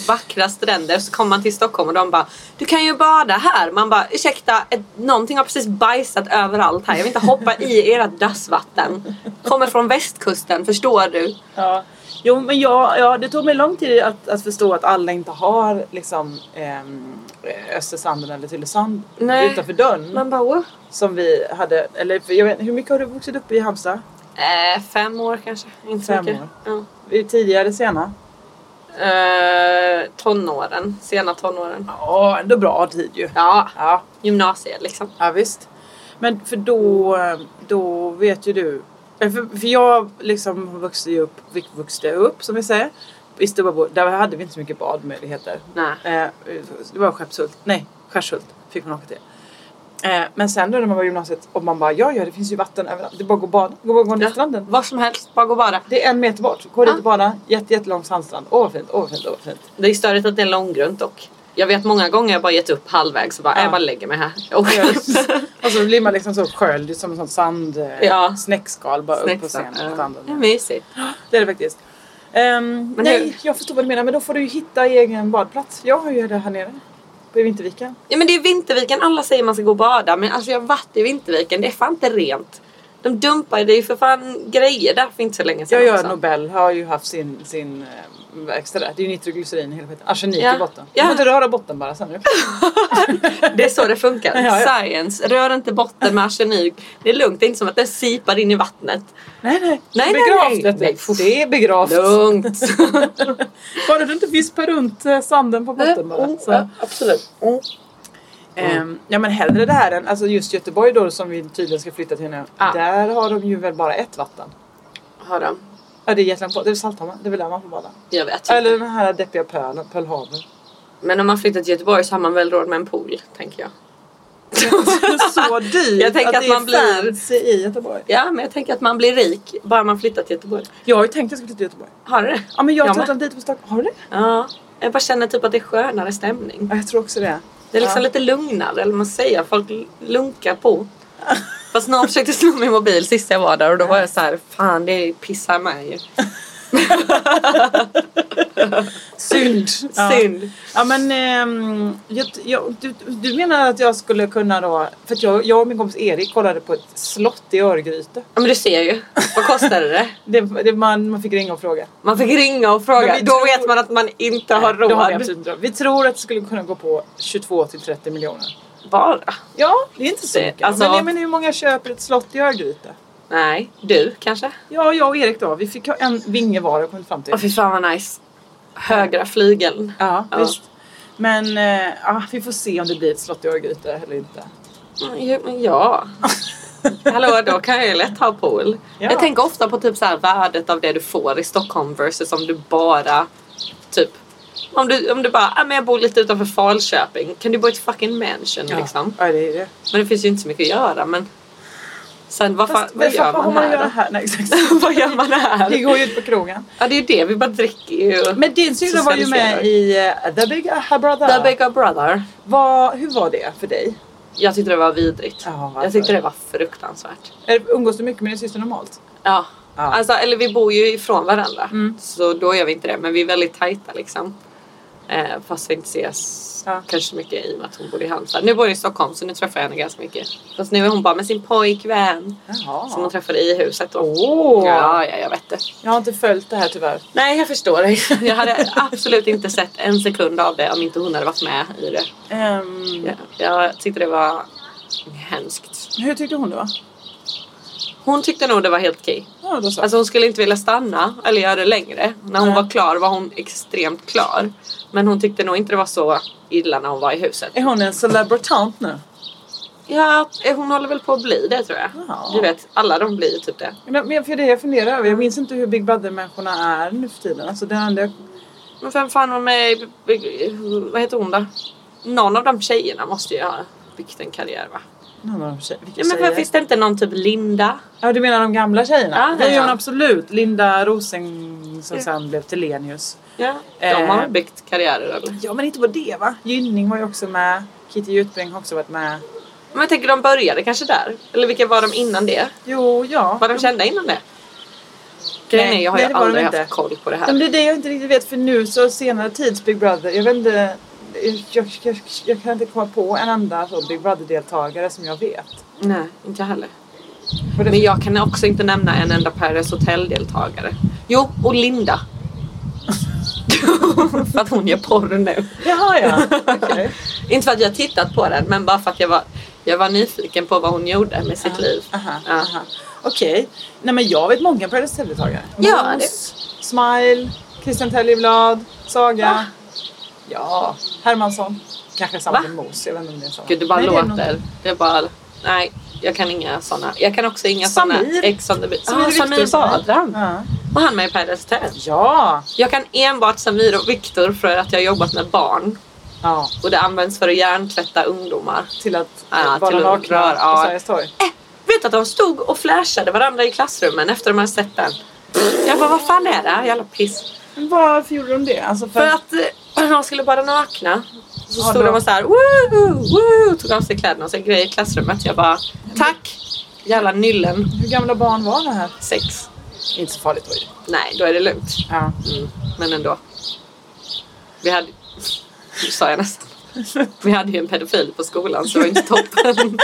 Speaker 3: vackra stränder. Så kommer man till Stockholm och de bara Du kan ju bada här. Man bara ursäkta, ett, någonting har precis bajsat överallt här. Jag vill inte hoppa i era dassvatten. Kommer från västkusten, förstår du?
Speaker 2: Ja. Jo, men jag, ja, det tog mig lång tid att, att förstå att alla inte har liksom, ehm, Östersanden eller Tylösand
Speaker 3: Nej.
Speaker 2: utanför dörren.
Speaker 3: Man bara "Wow."
Speaker 2: Som vi hade, eller för jag vet, hur mycket har du vuxit upp i Halmstad?
Speaker 3: eh, Fem år kanske. Inte så
Speaker 2: Fem
Speaker 3: mycket.
Speaker 2: år.
Speaker 3: Ja.
Speaker 2: I Tidigare, sena?
Speaker 3: Eh, tonåren, sena tonåren.
Speaker 2: Ja, ändå bra tid ju.
Speaker 3: Ja,
Speaker 2: Ja,
Speaker 3: gymnasiet liksom.
Speaker 2: ja visst. Men för då, då vet ju du. eh, För, för jag liksom vuxte ju upp, vuxte upp som vi säger. I Stubbabo, där hade vi inte så mycket badmöjligheter.
Speaker 3: Nej.
Speaker 2: Eh, det var Skeppshult, nej Skärshult fick man åka till. Eh, men sen då när man var i gymnasiet och man bara ja ja det finns ju vatten överallt. Det är bara att gå och bada, gå och gå ner till stranden.
Speaker 3: Var som helst, bara gå och bada.
Speaker 2: Det är en meter bort, gå dit och bada, jätte, jättelång sandstrand. Åh vad fint, åh vad fint, åh vad fint.
Speaker 3: Det är störigt att det är långgrunt dock. Jag vet många gånger jag bara gett upp halvvägs och
Speaker 2: [laughs]
Speaker 3: bara,
Speaker 2: Ja.
Speaker 3: jag bara lägger mig här. Och [laughs]
Speaker 2: och så blir man liksom så sköljd som en sån sand, eh,
Speaker 3: Ja.
Speaker 2: snäckskal bara upp på
Speaker 3: Snäcksa.
Speaker 2: scenen. på
Speaker 3: Ja.
Speaker 2: stranden.
Speaker 3: Det är mysigt.
Speaker 2: Det är det faktiskt. Ehm,
Speaker 3: Men
Speaker 2: nej,
Speaker 3: hur-
Speaker 2: jag förstår vad du menar men då får du ju hitta egen badplats. Jag har ju det här nere. På Vinterviken.
Speaker 3: Ja men det är Vinterviken, alla säger man ska gå och bada men alltså jag har varit i Vinterviken, det är fan inte rent. De dumpar det är ju för fan grejer där för inte så länge sedan
Speaker 2: Jag gör
Speaker 3: också.
Speaker 2: Nobel har ju haft sin, sin eh, extra där. Det är ju nitroglycerin i hela skiten. Arsenik
Speaker 3: Ja.
Speaker 2: i botten. Du
Speaker 3: Ja.
Speaker 2: får inte röra botten bara sen nu.
Speaker 3: Det är så det funkar.
Speaker 2: [laughs] Ja, ja.
Speaker 3: Science. Rör inte botten med arsenik. Det är lugnt. Det är inte som att det sipar in i vattnet.
Speaker 2: Nej, nej.
Speaker 3: [laughs] Nej, nej,
Speaker 2: begravt,
Speaker 3: nej.
Speaker 2: Vet du.
Speaker 3: Nej, fuff.
Speaker 2: det är begravt. [laughs]
Speaker 3: Lugnt.
Speaker 2: Bara du inte vispar runt eh, sanden på botten bara.
Speaker 3: [laughs] Mm,
Speaker 2: Så.
Speaker 3: ja, absolut. Mm.
Speaker 2: Ehm, ja men hellre det här än, alltså just Göteborg då som vi tydligen ska flytta till nu.
Speaker 3: Ja.
Speaker 2: Där har de ju väl bara ett vatten.
Speaker 3: Har de?
Speaker 2: Ja det är egentligen på, det är Saltholmen, det är väl där man får bada.
Speaker 3: Jag vet
Speaker 2: Eller
Speaker 3: inte.
Speaker 2: den här deppiga pölen, Pölhaven.
Speaker 3: Men om man flyttar till Göteborg så har man väl råd med en pool, tänker jag.
Speaker 2: Så dyrt
Speaker 3: [laughs] Jag tänker att
Speaker 2: det är
Speaker 3: man blir-
Speaker 2: fancy i Göteborg.
Speaker 3: Ja, men jag tänker att man blir rik bara man flyttar till Göteborg.
Speaker 2: Jag har ju tänkt att jag skulle till Göteborg.
Speaker 3: Har du det?
Speaker 2: Ja men jag har
Speaker 3: Jag
Speaker 2: tittat
Speaker 3: med.
Speaker 2: dit på Stockholm. Har du det?
Speaker 3: Ja. Jag bara känner typ att det är skönare stämning.
Speaker 2: Ja jag tror också det.
Speaker 3: Det är liksom lite lugnare, eller vad man säger. Folk l- lunkar på. Fast någon försökte slå min mobil sist jag var där och då var jag så här, fan det pissar mig ju.
Speaker 2: Synd. Ja.
Speaker 3: [laughs] Synd.
Speaker 2: Ja men ehm, jag, jag, du, du menar att jag skulle kunna då, för att jag, jag och min kompis Erik kollade på ett slott i Örgryte.
Speaker 3: Ja men du ser ju. Vad kostade det?
Speaker 2: Det, det, man, man fick ringa och fråga.
Speaker 3: Man fick ringa och
Speaker 2: Men
Speaker 3: fråga.
Speaker 2: vi
Speaker 3: Då
Speaker 2: tror-
Speaker 3: vet man att man inte
Speaker 2: Det
Speaker 3: har
Speaker 2: har vi,
Speaker 3: råd.
Speaker 2: absolut inte råd. vi tror att det skulle kunna gå på 22 till 30 miljoner.
Speaker 3: Bara.
Speaker 2: Ja, det är inte så
Speaker 3: Det-
Speaker 2: mycket.
Speaker 3: alltså-
Speaker 2: men, nej, men hur många köper ett slott i Örgryte?
Speaker 3: Nej, du kanske?
Speaker 2: Ja, jag och Erik då. Vi fick ha en vinge var och kom fram till.
Speaker 3: Åh fy fan vad nice. Högra flygeln.
Speaker 2: Ja,
Speaker 3: Ja.
Speaker 2: visst. Men eh, ja, vi får se om det blir ett slott i Örgryte eller
Speaker 3: [laughs]
Speaker 2: inte.
Speaker 3: Ja, Mm, men Ja. Hallå, då kan jag ju lätt ha pool.
Speaker 2: Ja.
Speaker 3: Jag tänker ofta på typ så här värdet av det du får i Stockholm versus om du bara typ om du, om du bara, ah, men jag bor lite utanför Falköping. Kan du bo i ett fucking mansion liksom?
Speaker 2: Ja, det är det.
Speaker 3: Men det finns ju inte så mycket att göra. Men sen vad, fan,
Speaker 2: Fast,
Speaker 3: vad gör man
Speaker 2: man
Speaker 3: här?
Speaker 2: göra
Speaker 3: då?
Speaker 2: här? Nej, exakt. [laughs]
Speaker 3: [laughs] vad gör man
Speaker 2: Vi
Speaker 3: här?
Speaker 2: går ju ut på krogen.
Speaker 3: Ja, det är ju det. Vi bara dricker ju.
Speaker 2: Men din syrra var ju med i eh, The Big Aha Brother.
Speaker 3: The Bigger Brother.
Speaker 2: Vad- hur var det för dig?
Speaker 3: Jag tyckte det var vidrigt.
Speaker 2: Ja, varför?
Speaker 3: jag tyckte det var fruktansvärt.
Speaker 2: Är- Umgås du mycket med din syster normalt?
Speaker 3: Ja.
Speaker 2: Ja. Mm.
Speaker 3: Alltså, eller vi bor ju ifrån varandra. Så då gör vi inte det. Men vi är väldigt tajta liksom. Eh, fast vi inte ses
Speaker 2: Ja.
Speaker 3: kanske mycket i och med att hon bor i Halmstad. Nu bor hon i Stockholm så nu träffar jag henne ganska mycket. Fast nu är hon bara med sin pojkvän.
Speaker 2: Jaha.
Speaker 3: Som hon träffade i huset då.
Speaker 2: Åh.
Speaker 3: Ja, ja, jag vet det.
Speaker 2: Jag har inte följt det här tyvärr.
Speaker 3: Nej, jag förstår dig. [laughs] jag hade absolut inte sett en sekund av det om inte hon hade varit med i det.
Speaker 2: Ehm,
Speaker 3: Jag, jag tyckte det var hemskt.
Speaker 2: Hur tyckte hon det var?
Speaker 3: Hon tyckte nog det var helt okej.
Speaker 2: Ja, då så.
Speaker 3: Alltså hon skulle inte vilja stanna eller göra det längre. När hon
Speaker 2: Nej.
Speaker 3: var klar var hon extremt klar. Men hon tyckte nog inte det var så illa när hon var i huset.
Speaker 2: är hon en celebratant nu?
Speaker 3: Ja, eh, hon håller väl på att bli det tror jag.
Speaker 2: Jaha.
Speaker 3: Du vet, alla de blir ju typ det.
Speaker 2: Men men för det jag funderar över, jag minns inte hur Big Brother-människorna är nu för tiden. Alltså det enda jag...
Speaker 3: Men vem fan var med i- Vad heter hon då? Någon av de tjejerna måste ju ha byggt en karriär va?
Speaker 2: Någon av dem tjejer, vilka
Speaker 3: Ja, men
Speaker 2: tjejer?
Speaker 3: varför finns det inte någon typ Linda?
Speaker 2: Ja, du menar de gamla tjejerna?
Speaker 3: Ja,
Speaker 2: det
Speaker 3: ja.
Speaker 2: gör hon absolut. Linda Roseng som
Speaker 3: Ja.
Speaker 2: sen blev Telenius.
Speaker 3: Ja, de
Speaker 2: Eh.
Speaker 3: har väl byggt karriärer eller?
Speaker 2: Ja men inte var det va? Gynning var ju också med. Kitty Jutbring har också varit med.
Speaker 3: Men jag tänker de började kanske där. Eller vilka var de innan det?
Speaker 2: Jo, ja.
Speaker 3: Var de kända innan det? Grejen är, jag har
Speaker 2: nej,
Speaker 3: ju
Speaker 2: det var de
Speaker 3: aldrig
Speaker 2: inte.
Speaker 3: haft koll på det
Speaker 2: Ja, Men det
Speaker 3: här.
Speaker 2: är det jag inte riktigt vet för nu så senare tids Big Brother. Jag vet inte. Jag, jag, jag, jag kan inte komma på en enda så Big Brother-deltagare som jag vet.
Speaker 3: Nej, inte jag heller.
Speaker 2: För det-
Speaker 3: Men jag kan också inte nämna en enda Paradise Hotel-deltagare. Jo, och Linda. [laughs] för att hon gör porr nu.
Speaker 2: Jaha ja. [laughs] Okej.
Speaker 3: Inte för att jag tittat på den, men bara för att jag var, jag var nyfiken på vad hon gjorde med sitt liv.
Speaker 2: Aha,
Speaker 3: Ja.
Speaker 2: aha. Okej. Nej men jag vet många Paradise Hotel-deltagare.
Speaker 3: Ja,
Speaker 2: Mos, Smile, Christian Tellivlad, Saga.
Speaker 3: Va?
Speaker 2: Ja, Hermansson. Kanske samma
Speaker 3: Va?
Speaker 2: som Mos. Jag vet inte om det är samma.
Speaker 3: Gud, det bara
Speaker 2: Nej, det är
Speaker 3: låter. Det är,
Speaker 2: nog-
Speaker 3: bara... Nej, jag kan inga såna. Jag kan också inga såna
Speaker 2: Samir.
Speaker 3: Ex on the beach.
Speaker 2: Samir
Speaker 3: Ah, Samir
Speaker 2: Viktor.
Speaker 3: Badran.
Speaker 2: Ja.
Speaker 3: Och han med i Paradise Hotel.
Speaker 2: Ja.
Speaker 3: Jag kan enbart Samir och Viktor för att jag har jobbat med barn.
Speaker 2: ja.
Speaker 3: Och det används för att hjärntvätta ungdomar.
Speaker 2: Till att
Speaker 3: Ja,
Speaker 2: vara
Speaker 3: till att
Speaker 2: nakna
Speaker 3: röra,
Speaker 2: på
Speaker 3: ja.
Speaker 2: Sergels torg.
Speaker 3: Vet att de stod och flashade varandra i klassrummen efter de hade sett den. Jag bara, vad fan är det här? Jävla piss.
Speaker 2: Men Varför gjorde de det? Alltså
Speaker 3: För att eh, de skulle bara nakna. Så
Speaker 2: Ja,
Speaker 3: stod
Speaker 2: då.
Speaker 3: de och så här, woo, woo, tog av sig kläderna och sen grejer i klassrummet. Jag bara, tack! Jävla nyllen.
Speaker 2: Hur gamla barn var det här?
Speaker 3: Sex.
Speaker 2: Inte så farligt var det.
Speaker 3: Nej, då är det lugnt.
Speaker 2: Ja.
Speaker 3: Mm, men ändå. Vi hade... [laughs] Sa jag nästan. Vi hade ju en pedofil på skolan så det var
Speaker 2: [laughs]
Speaker 3: inte toppen.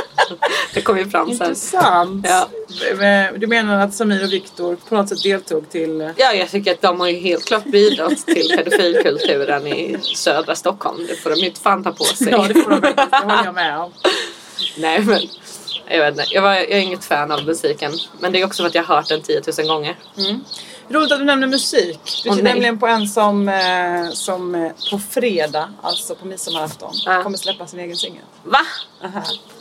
Speaker 3: Det kom ju fram sen.
Speaker 2: Intressant. Eh,
Speaker 3: Ja.
Speaker 2: Men Du menar att Samir och Viktor på något sätt deltog till...
Speaker 3: Ja, jag tycker att de har ju helt klart bidragit till pedofilkulturen i södra Stockholm. Det får de ju inte fan ta på sig.
Speaker 2: Ja, det får [laughs] de faktiskt. Det håller jag med om.
Speaker 3: [laughs] Nej, men jag vet inte. Jag, var, jag är inget fan av musiken. Men det är också för att jag har hört den 10 000 gånger.
Speaker 2: Roligt att du nämner musik. Du
Speaker 3: Åh,
Speaker 2: ser
Speaker 3: nej.
Speaker 2: nämligen på en som, eh, som eh, på fredag, alltså på midsommarafton,
Speaker 3: Ja.
Speaker 2: kommer släppa sin egen singel.
Speaker 3: Va?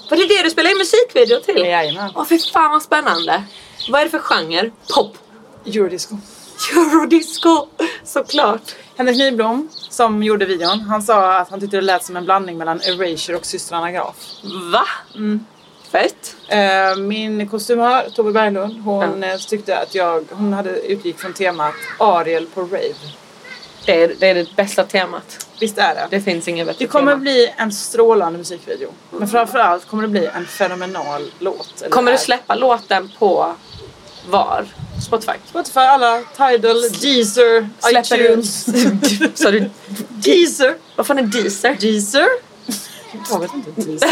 Speaker 3: Var det det du spelade in musikvideo till?
Speaker 2: Jajamän.
Speaker 3: Åh, fy fan vad spännande. Vad är det för genre? Pop.
Speaker 2: Eurodisco.
Speaker 3: Eurodisco. Såklart.
Speaker 2: Henrik Nyblom, som gjorde videon, han sa att han tyckte det lät som en blandning mellan Erasure och systrarna Graf.
Speaker 3: Va? Mm. Fett.
Speaker 2: Eh, Min kostymör, Tove Berglund, hon eh, tyckte att jag, hon hade utgick från temat Ariel på rave.
Speaker 3: Det är, det är det bästa temat.
Speaker 2: Visst är det?
Speaker 3: Det finns inget bättre
Speaker 2: Det kommer
Speaker 3: tema.
Speaker 2: bli en strålande musikvideo. Men framförallt kommer det bli en fenomenal låt. Eller
Speaker 3: Kommer du
Speaker 2: är.
Speaker 3: släppa låten på var? Spotify?
Speaker 2: Spotify, alla, Tidal, Deezer,
Speaker 3: Släpper du-
Speaker 2: iTunes.
Speaker 3: [laughs] Sa du
Speaker 2: Deezer?
Speaker 3: Vad fan är Deezer?
Speaker 2: Deezer? Jag vet inte.
Speaker 3: [laughs]
Speaker 2: Deezer.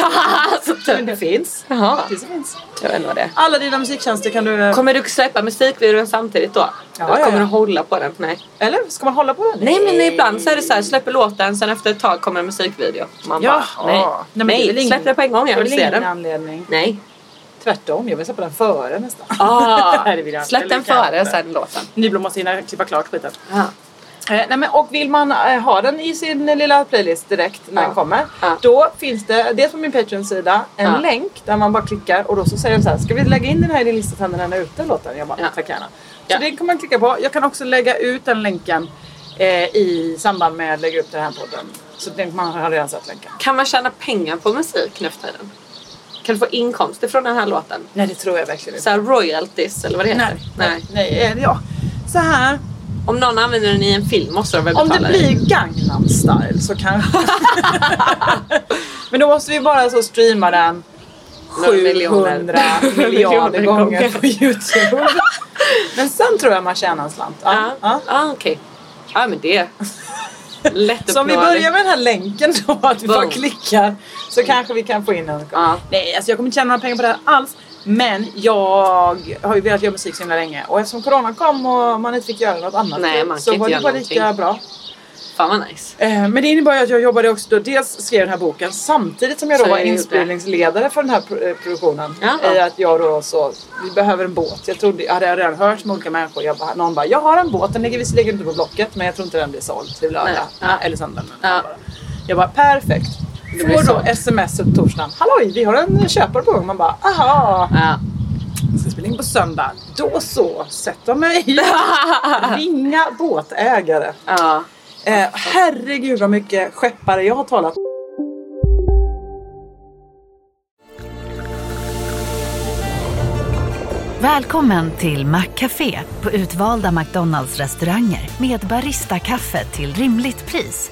Speaker 3: Så
Speaker 2: Men det
Speaker 3: typ.
Speaker 2: finns.
Speaker 3: [laughs] Jaha,
Speaker 2: Deezer finns.
Speaker 3: jag vet inte vad det är.
Speaker 2: Alla dina musiktjänster kan du... eh,
Speaker 3: Kommer du släppa musikvideon samtidigt då?
Speaker 2: Ja,
Speaker 3: Eller
Speaker 2: ja,
Speaker 3: kommer
Speaker 2: ja.
Speaker 3: du hålla på den? Nej.
Speaker 2: Eller ska man hålla på den?
Speaker 3: nej men ibland så är det så här, släpper låten sen efter ett tag kommer en musikvideo. Man
Speaker 2: Jaha.
Speaker 3: bara nej.
Speaker 2: men
Speaker 3: nej,
Speaker 2: det är väl
Speaker 3: släpp den på en gång, jag
Speaker 2: det är
Speaker 3: vill
Speaker 2: väl
Speaker 3: se
Speaker 2: ingen
Speaker 3: den.
Speaker 2: anledning.
Speaker 3: Nej.
Speaker 2: Tvärtom, jag vill släppa den före nästan. [laughs]
Speaker 3: Ah,
Speaker 2: [laughs] Nej, det vill jag inte.
Speaker 3: släpp den
Speaker 2: Det kan jag
Speaker 3: före
Speaker 2: inte.
Speaker 3: sen låten.
Speaker 2: Nyblom måste hinna klippa klart skiten. Eh, nej men, och vill man eh, ha den i sin eh, lilla playlist direkt när
Speaker 3: Ja.
Speaker 2: den kommer.
Speaker 3: Ja.
Speaker 2: Då finns det dels på min Patreon-sida en
Speaker 3: Ja.
Speaker 2: länk där man bara klickar och då så säger de så här. Ska vi lägga in den här i din lista sen när den är ute låten? Jag bara
Speaker 3: Ja.
Speaker 2: tack gärna. Så
Speaker 3: Ja.
Speaker 2: det kan man klicka på. Jag kan också lägga ut den länken eh, i samband med att lägga upp den här podden. Så den, man har redan sett länken.
Speaker 3: Kan man tjäna pengar på musik nu för tiden? Kan du få inkomster från den här låten?
Speaker 2: Nej det tror jag verkligen inte.
Speaker 3: Så här royalties eller vad det heter?
Speaker 2: Nej. Nej. eh, Ja. Så här.
Speaker 3: Om någon använder den i en film måste de väl
Speaker 2: Om
Speaker 3: betala
Speaker 2: det blir Gangnam style så kanske. [laughs] Men då måste vi bara så streama den
Speaker 3: Några miljoner.
Speaker 2: 700 miljarder
Speaker 3: [laughs] Miljoner
Speaker 2: gånger
Speaker 3: gånger.
Speaker 2: på [laughs] Youtube. Men sen tror jag man tjänar en slant. Ja,
Speaker 3: Ja,
Speaker 2: ja.
Speaker 3: ja. okej. Ja, men
Speaker 2: [laughs]
Speaker 3: det. Lätt
Speaker 2: Så om vi
Speaker 3: uppnåeligt.
Speaker 2: börjar med den här länken då, att vi bara
Speaker 3: Boom.
Speaker 2: klickar så kanske vi kan få in en.
Speaker 3: Ja.
Speaker 2: Nej, alltså jag kommer inte tjäna några pengar på det här alls. Men jag har ju velat göra musik så himla länge och eftersom corona kom och man inte fick göra något annat typ,
Speaker 3: Nej, man kan
Speaker 2: så
Speaker 3: inte
Speaker 2: var det
Speaker 3: göra
Speaker 2: bara lika
Speaker 3: någonting.
Speaker 2: bra.
Speaker 3: Fan vad nice.
Speaker 2: Eh, Men det innebar ju att jag jobbade också då. Dels skrev den här boken samtidigt som jag då
Speaker 3: Så
Speaker 2: var
Speaker 3: jag gjorde.
Speaker 2: inspelningsledare för den här pro- eh, produktionen.
Speaker 3: Jaha.
Speaker 2: I att jag då så, vi behöver en båt. Jag trodde, jag hade redan hört med olika människor. Jag bara, någon bara, jag har en båt. Den ligger visserligen inte på Blocket men jag tror inte den blir såld till lördag.
Speaker 3: Nej. Ja.
Speaker 2: Eller söndag. men
Speaker 3: Ja.
Speaker 2: bara. Jag bara, perfekt.
Speaker 3: Det blir
Speaker 2: Får då
Speaker 3: sålt.
Speaker 2: sms på torsdagen. Halloj, vi har en köpare på gång. Man bara, aha.
Speaker 3: Ja.
Speaker 2: Vi ska spela in på söndag. Då så, sätter mig.
Speaker 3: [laughs]
Speaker 2: Ringa båtägare.
Speaker 3: Ja.
Speaker 2: Eh, herregud vad mycket skeppare jag har talat
Speaker 4: Välkommen till Maccafé på utvalda McDonalds restauranger med Baristakaffe till rimligt pris.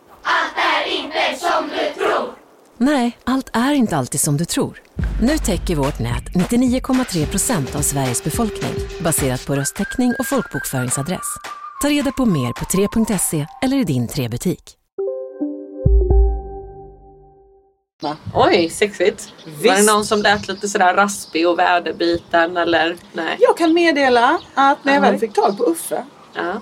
Speaker 5: Nej, allt är inte alltid som du tror. Nu täcker vårt nät 99,3 procent av Sveriges befolkning baserat på röstteckning och folkbokföringsadress. Ta reda på mer på 3.se eller i din 3-butik.
Speaker 3: Oj, sexigt. Var det
Speaker 2: Visst.
Speaker 3: någon som lät lite sådär raspig och väderbiten eller? Nej.
Speaker 2: Jag kan meddela att när jag väl fick tag på Uffe,
Speaker 3: Ja.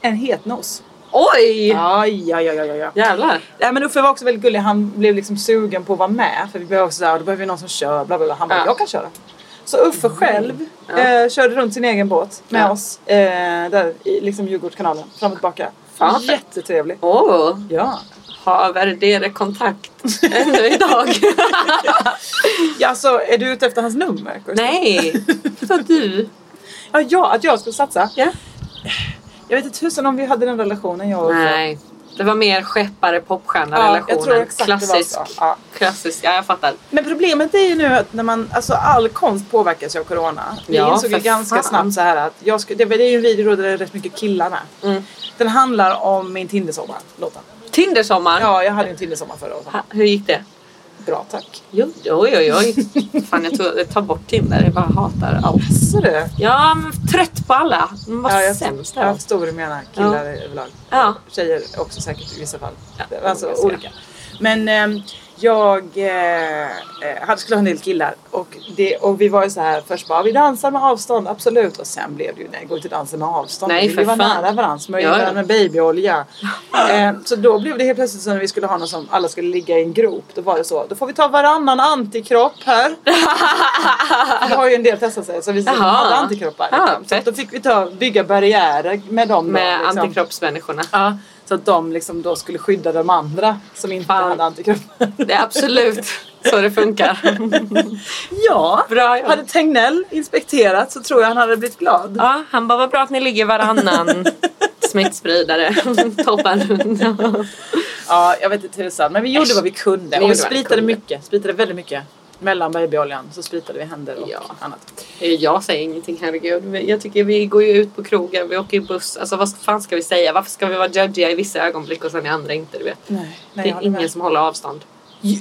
Speaker 2: en het nos.
Speaker 3: Oj!
Speaker 2: Ja, ja, ja, ja, ja, ja.
Speaker 3: Jävlar.
Speaker 2: Nej, men Uffe var också väldigt gullig. Han blev liksom sugen på att vara med. För vi behöver också såhär, då behöver vi någon som kör. Bla, bla, bla. Han bara,
Speaker 3: Ja. Mm.
Speaker 2: jag kan köra. Så Uffe själv eh, körde runt sin egen båt med
Speaker 3: Ja.
Speaker 2: oss. Eh, där i liksom Djurgårdskanalen. Fram och tillbaka.
Speaker 3: Fan.
Speaker 2: Jättetrevlig.
Speaker 3: Åh,
Speaker 2: Ja.
Speaker 3: har värdere kontakt
Speaker 2: [laughs]
Speaker 3: ännu idag?
Speaker 2: ja, så är du ute efter hans nummer? Gustav?
Speaker 3: Nej, så du.
Speaker 2: Ja, ja, att jag skulle satsa?
Speaker 3: Ja.
Speaker 2: Jag vet inte tusan om vi hade den relationen jag och Uffe.
Speaker 3: Nej, Det var mer skeppare, popstjärna
Speaker 2: Ja, jag
Speaker 3: relationen.
Speaker 2: tror exakt det var så.
Speaker 3: klassisk.
Speaker 2: Ja.
Speaker 3: klassisk. Ja, jag fattar.
Speaker 2: Men problemet är ju nu att när man, alltså all konst påverkas ju av corona. Vi
Speaker 3: Ja,
Speaker 2: insåg ju
Speaker 3: för
Speaker 2: ganska
Speaker 3: fan.
Speaker 2: snabbt så här att jag skulle, det, var- det är ju en video då där det är rätt mycket killar med.
Speaker 3: Mm.
Speaker 2: Den handlar om min Tindersommar, låten.
Speaker 3: Tindersommar.
Speaker 2: Ja, jag hade ju en Tindersommar förra året.
Speaker 3: Ha, hur gick det?
Speaker 2: Bra, tack.
Speaker 3: Jo, oj, oj, oj. Fan, jag, tog, jag tar bort Tinder. Jag bara hatar allt.
Speaker 2: Så du?
Speaker 3: Ja, men trött på alla. De var
Speaker 2: Ja, jag,
Speaker 3: sämst
Speaker 2: jag
Speaker 3: där.
Speaker 2: förstår vad du menar. Killar överlag.
Speaker 3: Ja.
Speaker 2: Tjejer också säkert i vissa fall.
Speaker 3: Ja,
Speaker 2: alltså
Speaker 3: jag ser.
Speaker 2: olika. Men ehm, jag eh, eh, hade skulle ha en del killar och, det, och vi var ju så här först bara vi dansar med avstånd absolut och sen blev det ju nej gå ut och dansa med avstånd.
Speaker 3: Nej,
Speaker 2: vi ville
Speaker 3: för
Speaker 2: vara
Speaker 3: fan.
Speaker 2: nära varandra smörja
Speaker 3: Ja, ja.
Speaker 2: varandra med
Speaker 3: [laughs]
Speaker 2: babyolja. eh, så då blev det helt plötsligt så när vi skulle ha någon som alla skulle ligga i en grop då var det så då får vi ta varannan antikropp
Speaker 3: [laughs]
Speaker 2: här. det har ju en del testat sig så vi
Speaker 3: Jaha.
Speaker 2: hade antikroppar.
Speaker 3: Ja,
Speaker 2: liksom. så
Speaker 3: fett.
Speaker 2: då fick vi ta, bygga barriärer med dem.
Speaker 3: Med
Speaker 2: då, liksom.
Speaker 3: antikroppsmänniskorna.
Speaker 2: Ja, så att de liksom då skulle skydda de andra som inte
Speaker 3: Fan.
Speaker 2: hade antikroppar.
Speaker 3: Det är absolut så
Speaker 2: [laughs]
Speaker 3: det funkar.
Speaker 2: Ja,
Speaker 3: Bra jobbat.
Speaker 2: hade Tegnell inspekterat så tror jag han hade blivit glad.
Speaker 3: Ja, han bara, vad bra att ni
Speaker 2: [laughs]
Speaker 3: ligger varannan. Smittspridare. Toppen.
Speaker 2: Ja, jag vet inte tusan. Men vi gjorde
Speaker 3: Äsch.
Speaker 2: vad vi kunde.
Speaker 3: Vi
Speaker 2: Och vi
Speaker 3: gjorde vad vi
Speaker 2: spritade
Speaker 3: kunde.
Speaker 2: mycket. Spritade väldigt mycket. Mellan babyoljan så spritade vi händer och
Speaker 3: Ja.
Speaker 2: annat.
Speaker 3: Eh, jag säger ingenting, herregud. Men Jag tycker vi går ju ut på krogen, vi åker ju buss. Alltså vad fan ska vi säga? Varför ska vi vara judgiga i vissa ögonblick och sen i andra inte? Du vet.
Speaker 2: Nej, nej
Speaker 3: Det
Speaker 2: jag
Speaker 3: är
Speaker 2: håller
Speaker 3: ingen
Speaker 2: med.
Speaker 3: som håller avstånd.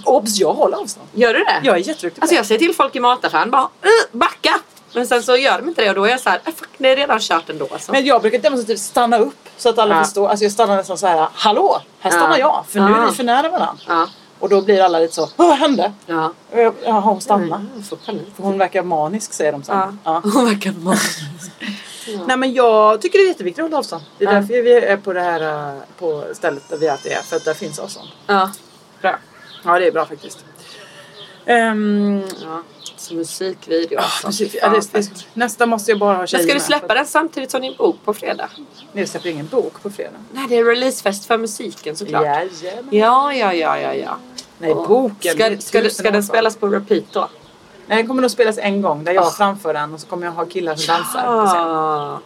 Speaker 2: Obs, jag håller avstånd.
Speaker 3: Gör du det?
Speaker 2: Jag är jätteduktig på
Speaker 3: Alltså
Speaker 2: det.
Speaker 3: jag säger till folk i mataffären bara "Ugh, backa! Men sen så gör de inte det och då är jag så här, "Ah, fuck det är redan kört ändå alltså.
Speaker 2: Men jag brukar demonstrativt stanna upp så att alla
Speaker 3: Ja.
Speaker 2: förstår. Alltså jag stannar nästan så här. Hallå, här stannar
Speaker 3: Ja.
Speaker 2: jag. För nu är
Speaker 3: Ja.
Speaker 2: vi för nära varandra.
Speaker 3: Ja,
Speaker 2: Och då blir alla lite så. "Åh, Vad hände?
Speaker 3: ja.
Speaker 2: Ja, hon stannade.
Speaker 3: Jag får panik.
Speaker 2: För hon verkar manisk säger de sen.
Speaker 3: Mm. Ja.
Speaker 2: Ja.
Speaker 3: [laughs] Hon verkar manisk.
Speaker 2: Nej men jag tycker det är jätteviktigt att hålla avstånd. Det är därför vi är på det här eh, på stället där vi alltid är. För att där finns avstånd.
Speaker 3: Ja, bra.
Speaker 2: Ja det är bra faktiskt. Ehm,
Speaker 3: Ja. Så musikvideo alltså.
Speaker 2: musik- ja, det, det, nästa måste jag bara ha
Speaker 3: Men
Speaker 2: tjejer
Speaker 3: ska du
Speaker 2: med, för
Speaker 3: släppa
Speaker 2: att-
Speaker 3: den samtidigt som din bok på fredag?
Speaker 2: Nej jag släpper ingen bok på fredag.
Speaker 3: Nej, det är releasefest för musiken såklart.
Speaker 2: Jajamän.
Speaker 3: Ja, ja, ja, ja, ja.
Speaker 2: Nej
Speaker 3: Och
Speaker 2: boken. det är typ
Speaker 3: Ska, ska, du-
Speaker 2: tusen
Speaker 3: ska
Speaker 2: år kvar.
Speaker 3: den spelas Ah. på repeat då?
Speaker 2: Nej den kommer nog spelas en gång där jag framför den och så kommer jag ha killar som dansar. på scen.
Speaker 3: Ah.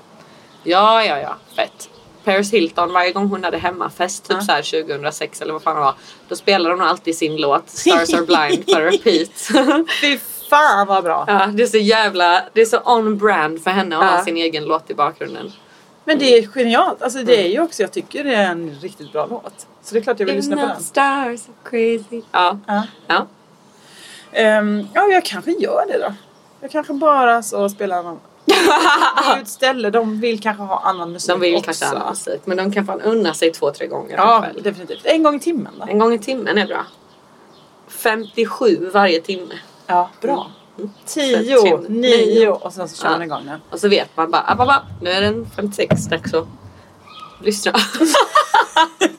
Speaker 3: Ja, ja, ja. Fett. Paris Hilton, varje gång hon hade hemmafest,
Speaker 2: Ah.
Speaker 3: typ så här 2006 eller vad fan det var, då spelade hon alltid sin låt Stars Are Blind
Speaker 2: [laughs]
Speaker 3: på repeat. [laughs]
Speaker 2: Fy fan vad bra.
Speaker 3: ja, det är så jävla, det är så on-brand för henne att
Speaker 2: Ja.
Speaker 3: ha sin egen låt i bakgrunden.
Speaker 2: Men det är genialt. Alltså det
Speaker 3: Mm.
Speaker 2: är ju också, jag tycker det är en riktigt bra låt. Så det är klart jag vill lyssna på den.
Speaker 3: stars are crazy. Ja.
Speaker 2: Ja.
Speaker 3: ja.
Speaker 2: Ehm, ja, jag kanske gör det då. Jag kanske bara så spelar någon... Det är ju ett ställe, de vill kanske ha annan musik
Speaker 3: De vill
Speaker 2: också.
Speaker 3: kanske annan musik, men de kan fan unna sig två, tre gånger per
Speaker 2: Ja,
Speaker 3: kväll.
Speaker 2: definitivt. En gång i timmen då.
Speaker 3: En gång i timmen är bra. 57 varje timme.
Speaker 2: Ja, bra.
Speaker 3: Fem,
Speaker 2: Tio,
Speaker 3: tre,
Speaker 2: nio
Speaker 3: Mm. nio.
Speaker 2: och sen så kör
Speaker 3: Ja.
Speaker 2: man igång den.
Speaker 3: Och så vet man bara, app, app, app, nu är den 56, dags att lyssna. [laughs]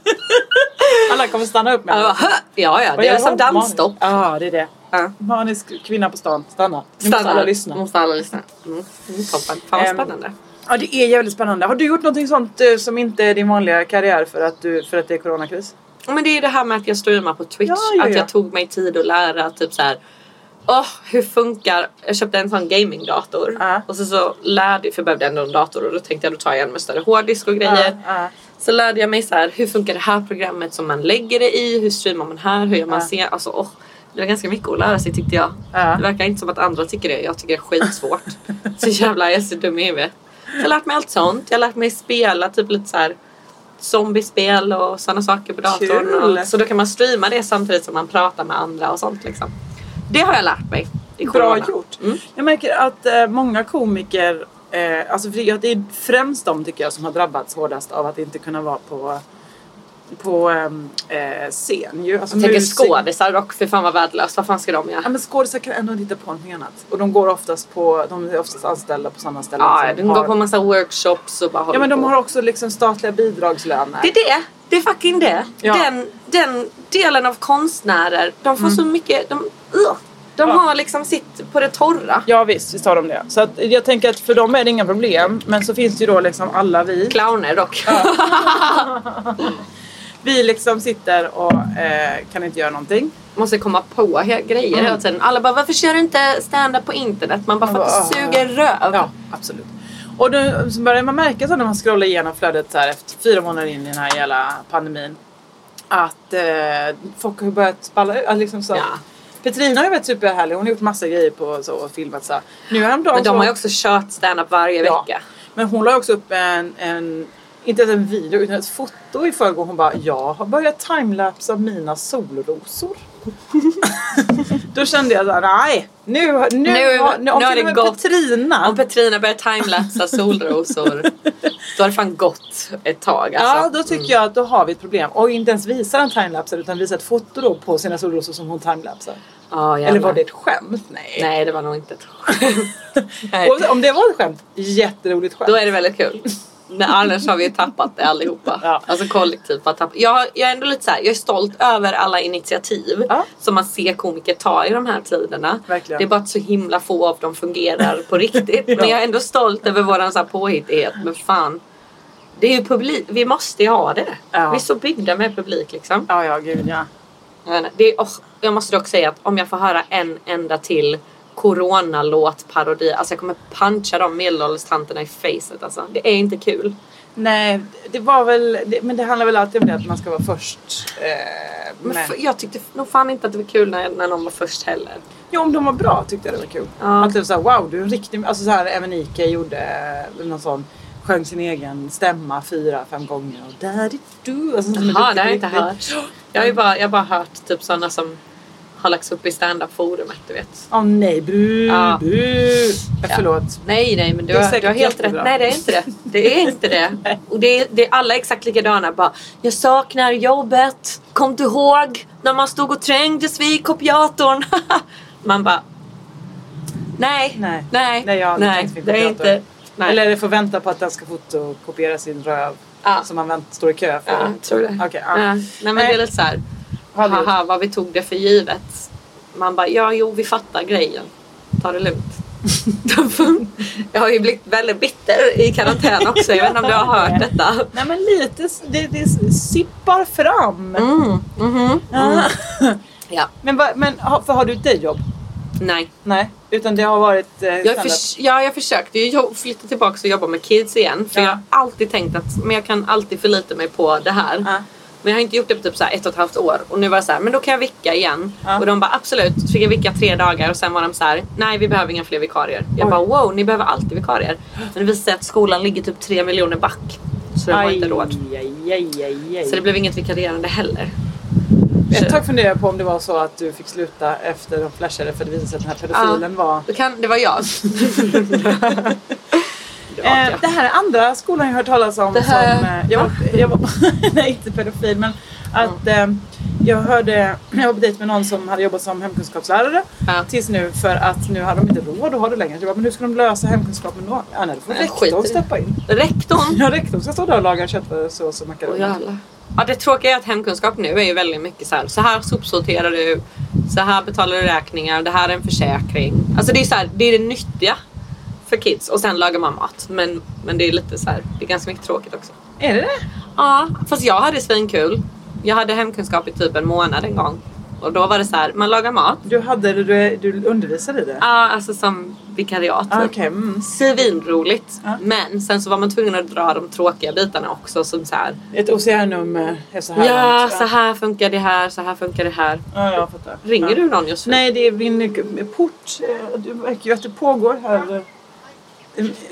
Speaker 2: Alla kommer stanna upp med
Speaker 3: Alla bara,
Speaker 2: den.
Speaker 3: "Hö!" ja, ja,
Speaker 2: Vad
Speaker 3: det är
Speaker 2: gör
Speaker 3: som
Speaker 2: hon?
Speaker 3: dansstopp.
Speaker 2: Manisk. Ja, det är det.
Speaker 3: Ja.
Speaker 2: Manisk kvinna på stan, stanna. Nu måste
Speaker 3: Stanna.
Speaker 2: alla lyssna.
Speaker 3: Måste alla lyssna. Mm. Mm, toppen. Fan vad
Speaker 2: Ehm,
Speaker 3: spännande.
Speaker 2: Ja, det är jävligt spännande. Har du gjort någonting sånt eh, som inte är din vanliga karriär för att, du, för att det är coronakris?
Speaker 3: Ja, Men det är ju det här med att jag streamar på Twitch.
Speaker 2: Ja, ja,
Speaker 3: Att
Speaker 2: ja.
Speaker 3: jag tog mig tid att lära typ så här. Åh, hur funkar... Jag köpte en sån gamingdator.
Speaker 2: Ja.
Speaker 3: Och så, så lärde jag... För jag behövde ändå en dator och då tänkte jag då tar jag en med större hårddisk och grejer.
Speaker 2: Ja,
Speaker 3: Så lärde jag mig så här, hur funkar det här programmet som man lägger det i? Hur streamar man här? Hur gör man
Speaker 2: Ja.
Speaker 3: sen? Alltså, åh, det var ganska mycket att lära sig tyckte jag.
Speaker 2: Ja.
Speaker 3: Det verkar inte som att andra tycker det. Jag tycker det
Speaker 2: [laughs]
Speaker 3: är skitsvårt. så jävla jag är så dum i huvudet. Så jag har lärt mig allt sånt. Jag har lärt mig spela typ lite så här zombiespel och sådana saker på datorn.
Speaker 2: Kul.
Speaker 3: Och, så då kan man streama det samtidigt som man pratar med andra och sånt liksom. Det har jag lärt mig. i
Speaker 2: Bra
Speaker 3: corona.
Speaker 2: gjort.
Speaker 3: Mm.
Speaker 2: Jag märker att eh, många komiker, eh, alltså för det det är främst de tycker jag som har drabbats hårdast av att inte kunna vara på, på ehm, eh, scen. Ju. Alltså
Speaker 3: Jag tänker
Speaker 2: musik-
Speaker 3: skådisar och för fan vad värdelöst. Vad fan ska de göra?
Speaker 2: Ja, men skådisar kan ändå titta på någonting annat. Och de går oftast på, de är oftast anställda på sådana ställen.
Speaker 3: Ja,
Speaker 2: som
Speaker 3: de går på massa workshops och bara håller
Speaker 2: alltså, ja men de
Speaker 3: på.
Speaker 2: har också liksom statliga bidragslöner.
Speaker 3: Det är det. Det är fucking det.
Speaker 2: Ja.
Speaker 3: Den, den delen av konstnärer, de får så mycket... De, ugh. de
Speaker 2: Mm. Ja.
Speaker 3: har liksom sitt på det torra.
Speaker 2: Ja visst, visst har de det. Så att jag tänker att för dem är det inga problem. Men så finns det ju då liksom alla vi.
Speaker 3: Clowner dock.
Speaker 2: Vi liksom sitter och eh, kan inte göra någonting.
Speaker 3: [laughs] Måste komma på he- grejer
Speaker 2: Mm.
Speaker 3: hela tiden. Alla bara, varför kör du inte stand-up på internet? Man bara, för att det
Speaker 2: Ja.
Speaker 3: suger röv.
Speaker 2: Ja, absolut. Och då så börjar man märka så när man scrollar igenom flödet så här efter fyra månader in i den här jävla pandemin. Att eh, folk har börjat spalla ut. att Liksom så.
Speaker 3: Ja.
Speaker 2: Petrina har ju varit superhärlig. Hon har gjort massa grejer på, så, och filmat så. här. Nu häromdagen
Speaker 3: Men
Speaker 2: så-
Speaker 3: de har ju också kört stand-up varje
Speaker 2: Ja.
Speaker 3: vecka.
Speaker 2: Men hon la också upp en, en inte ens en video utan ett foto i förrgår. Hon bara, jag har börjat timelapsa mina
Speaker 3: [laughs]
Speaker 2: solrosor. Då kände jag såhär, nej nu, nu, nu,
Speaker 3: Nu-
Speaker 2: har- nu, om
Speaker 3: nu har
Speaker 2: till
Speaker 3: det
Speaker 2: och med
Speaker 3: gått.
Speaker 2: Petrina.
Speaker 3: Om Petrina börjar
Speaker 2: [laughs]
Speaker 3: timelapsa solrosor då har det fan gått ett tag alltså.
Speaker 2: Ja, då tycker jag att då har vi ett problem. Och inte ens visar en timelapse utan visar ett foto då på sina solrosor som hon timelapsar.
Speaker 3: Ja, jävlar.
Speaker 2: Eller var det ett skämt? Nej.
Speaker 3: Nej, det var nog inte
Speaker 2: [laughs]
Speaker 3: ett skämt. Nej.
Speaker 2: Och om det var ett skämt, jätteroligt skämt.
Speaker 3: Då är det väldigt kul. Men annars har vi ju tappat det allihopa.
Speaker 2: Ja.
Speaker 3: Alltså kollektivt har tappat. Jag, jag är ändå lite så här, jag är stolt över alla initiativ
Speaker 2: Ja.
Speaker 3: som man ser komiker ta i de här tiderna.
Speaker 2: Verkligen.
Speaker 3: Det är bara att så himla få av dem fungerar
Speaker 2: [laughs]
Speaker 3: på riktigt. Men jag är ändå stolt över våran så här påhittighet. Men fan, det är ju publik. Vi måste ju ha det.
Speaker 2: Ja.
Speaker 3: Vi är så byggda med publik liksom.
Speaker 2: Ja, ja, gud ja.
Speaker 3: Jag vet inte. Det är, och jag måste dock säga att om jag får höra en enda till coronalåtparodi, alltså jag kommer puncha de medelålderstanterna i facet alltså. Det är inte kul.
Speaker 2: Nej, det var väl, det, men det handlar väl alltid om det att man ska vara först. Eh,
Speaker 3: Men
Speaker 2: men,
Speaker 3: f- jag tyckte nog fan inte att det var kul när, när någon var först heller.
Speaker 2: jo, om de var bra tyckte jag det var kul.
Speaker 3: Ja.
Speaker 2: Att typ såhär, wow, du är en riktig, alltså såhär även Ike gjorde eh, någon sån, sjöng sin egen stämma fyra, fem gånger och daddy do. Alltså, som en
Speaker 3: Jaha,
Speaker 2: riktig-
Speaker 3: det har jag inte
Speaker 2: riktig-
Speaker 3: hört. Jag har ju bara, jag har bara hört typ sådana som har lagts upp i standup-forumet, du vet.
Speaker 2: Åh nej, bu,
Speaker 3: Ja.
Speaker 2: bu. Eh, Förlåt.
Speaker 3: Nej, nej, men du,
Speaker 2: Det är
Speaker 3: har,
Speaker 2: säkert
Speaker 3: du har helt
Speaker 2: jättebra.
Speaker 3: rätt. Nej, det är inte det. Det är inte det. Och det är, det är alla exakt likadana. Bara, jag saknar jobbet. Kom du ihåg när man stod och trängdes vid kopiatorn? [laughs] man bara... Nej,
Speaker 2: Nej.
Speaker 3: nej,
Speaker 2: Nej, jag har aldrig trängt vid
Speaker 3: det är
Speaker 2: kopiatorn.
Speaker 3: inte... Nej.
Speaker 2: Eller är det för att vänta på att den ska fotokopiera sin röv
Speaker 3: Ja.
Speaker 2: som man vänt, står i kö för?
Speaker 3: Ja, jag tror det.
Speaker 2: Okej, ja.
Speaker 3: Ja. Nej, men det är lite så här...
Speaker 2: Har du-
Speaker 3: Haha, vad vi tog det för givet. Man bara, ja, jo, vi fattar grejen. Ta det lugnt. jag har ju blivit väldigt bitter i karantän också. Jag vet inte om du har hört detta.
Speaker 2: Nej men lite, det, det sippar fram.
Speaker 3: Mm, mhm.
Speaker 2: Ja.
Speaker 3: Ja,
Speaker 2: Men, vad- men har- för har du ett dayjobb?
Speaker 3: nej.
Speaker 2: Nej, utan det har varit eh,
Speaker 3: Jag,
Speaker 2: standard.
Speaker 3: förs- ja, jag försökte ju jo- flytta tillbaka och jobba med kids igen. För
Speaker 2: Ja.
Speaker 3: jag har alltid tänkt att men jag kan alltid förlita mig på det här.
Speaker 2: Ja.
Speaker 3: Men jag har inte gjort det på typ så här ett och ett halvt år. Och nu var jag så här, men då kan jag vicka igen.
Speaker 2: Ja.
Speaker 3: Och de bara absolut. Så fick jag vicka tre dagar och sen var de så här, nej vi behöver inga fler vikarier. Jag
Speaker 2: Oj.
Speaker 3: bara wow, ni behöver alltid vikarier. Men det visade sig att skolan ligger typ tre miljoner back. Så de har inte råd.
Speaker 2: Aj, aj, aj, aj.
Speaker 3: Så det blev inget vikarierande heller.
Speaker 2: Ett tag funderade jag på om det var så att du fick sluta efter de flashade för det visade sig att den här pedofilen var...
Speaker 3: Det, kan, det
Speaker 2: [laughs]
Speaker 3: var jag. [laughs]
Speaker 2: Eh, det här är andra skolan jag har hört talas om.
Speaker 3: Det här-
Speaker 2: som, eh, jag, var, jag var, [laughs] nej, inte pedofil men att eh, jag hörde, jag var på dejt med någon som hade jobbat som hemkunskapslärare
Speaker 3: Ja.
Speaker 2: tills nu för att nu hade de inte råd att ha det längre. Så Jag bara, men hur ska de lösa hemkunskapen då? Ja, nej, då får
Speaker 3: Nej, skit i
Speaker 2: rektorn
Speaker 3: det.
Speaker 2: steppa in.
Speaker 3: Rektorn.
Speaker 2: Ja, rektorn ska stå där och laga köttfärssås och
Speaker 3: Åh,
Speaker 2: makaroner.
Speaker 3: jävlar. Ja, det tråkiga är att hemkunskap nu är ju väldigt mycket så här. Så här sopsorterar du. Så här betalar du räkningar. Det här är en försäkring. Alltså det är så här, det är det nyttiga för kids. Och sen lagar man mat. Men, men det är lite så här, det är ganska mycket tråkigt också.
Speaker 2: Är det det?
Speaker 3: Ja, fast jag hade svinkul. Jag hade hemkunskap i typ en månad en gång. Och då var det så här, man lagar mat.
Speaker 2: Du, hade, det, du, du undervisade i det?
Speaker 3: Ja, alltså som vikariat.
Speaker 2: Ah,
Speaker 3: typ.
Speaker 2: Okej, mm.
Speaker 3: Svinroligt.
Speaker 2: Ja.
Speaker 3: Men sen så var man tvungen att dra de tråkiga bitarna också. Som så här,
Speaker 2: Ett oceanum eh, är så här
Speaker 3: ja,
Speaker 2: långt.
Speaker 3: så här funkar det här, så här funkar det här.
Speaker 2: Ja, jag fattar.
Speaker 3: Ringer
Speaker 2: ja.
Speaker 3: du någon just nu?
Speaker 2: Nej, det är min eh, port. eh, Det verkar ju att det pågår här eh,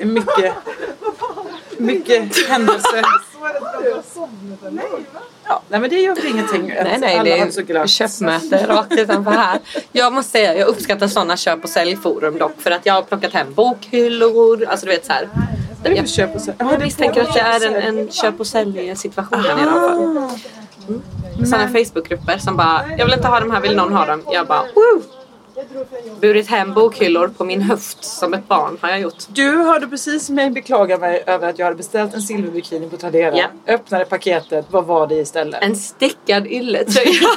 Speaker 2: eh, mycket, mycket
Speaker 3: [laughs]
Speaker 2: händelser. Ja, nej, men det gör väl ingenting. att
Speaker 3: Nej, nej,
Speaker 2: alla alltså
Speaker 3: det
Speaker 2: har så
Speaker 3: är
Speaker 2: glatt.
Speaker 3: köpmöte rakt utanför här. Jag måste säga, jag uppskattar sådana köp och säljforum dock för att jag har plockat hem bokhyllor, alltså du vet så här.
Speaker 2: Är det
Speaker 3: Jag,
Speaker 2: för köp och sälj? Ja,
Speaker 3: jag
Speaker 2: det
Speaker 3: misstänker
Speaker 2: pågår
Speaker 3: att det är en,
Speaker 2: köp och sälj.
Speaker 3: en köp och sälj situation här i alla fall. Mm.
Speaker 2: Ah.
Speaker 3: Sådana Facebookgrupper som bara, jag vill inte ha de här, vill någon ha dem? Jag bara, woo! Burit hem bokhyllor på min höft som ett barn har jag gjort.
Speaker 2: Du hörde precis mig beklaga mig över att jag hade beställt en silverbikini på Tradera.
Speaker 3: Ja.
Speaker 2: Öppnade paketet, vad var det istället?
Speaker 3: En stickad ylletröja.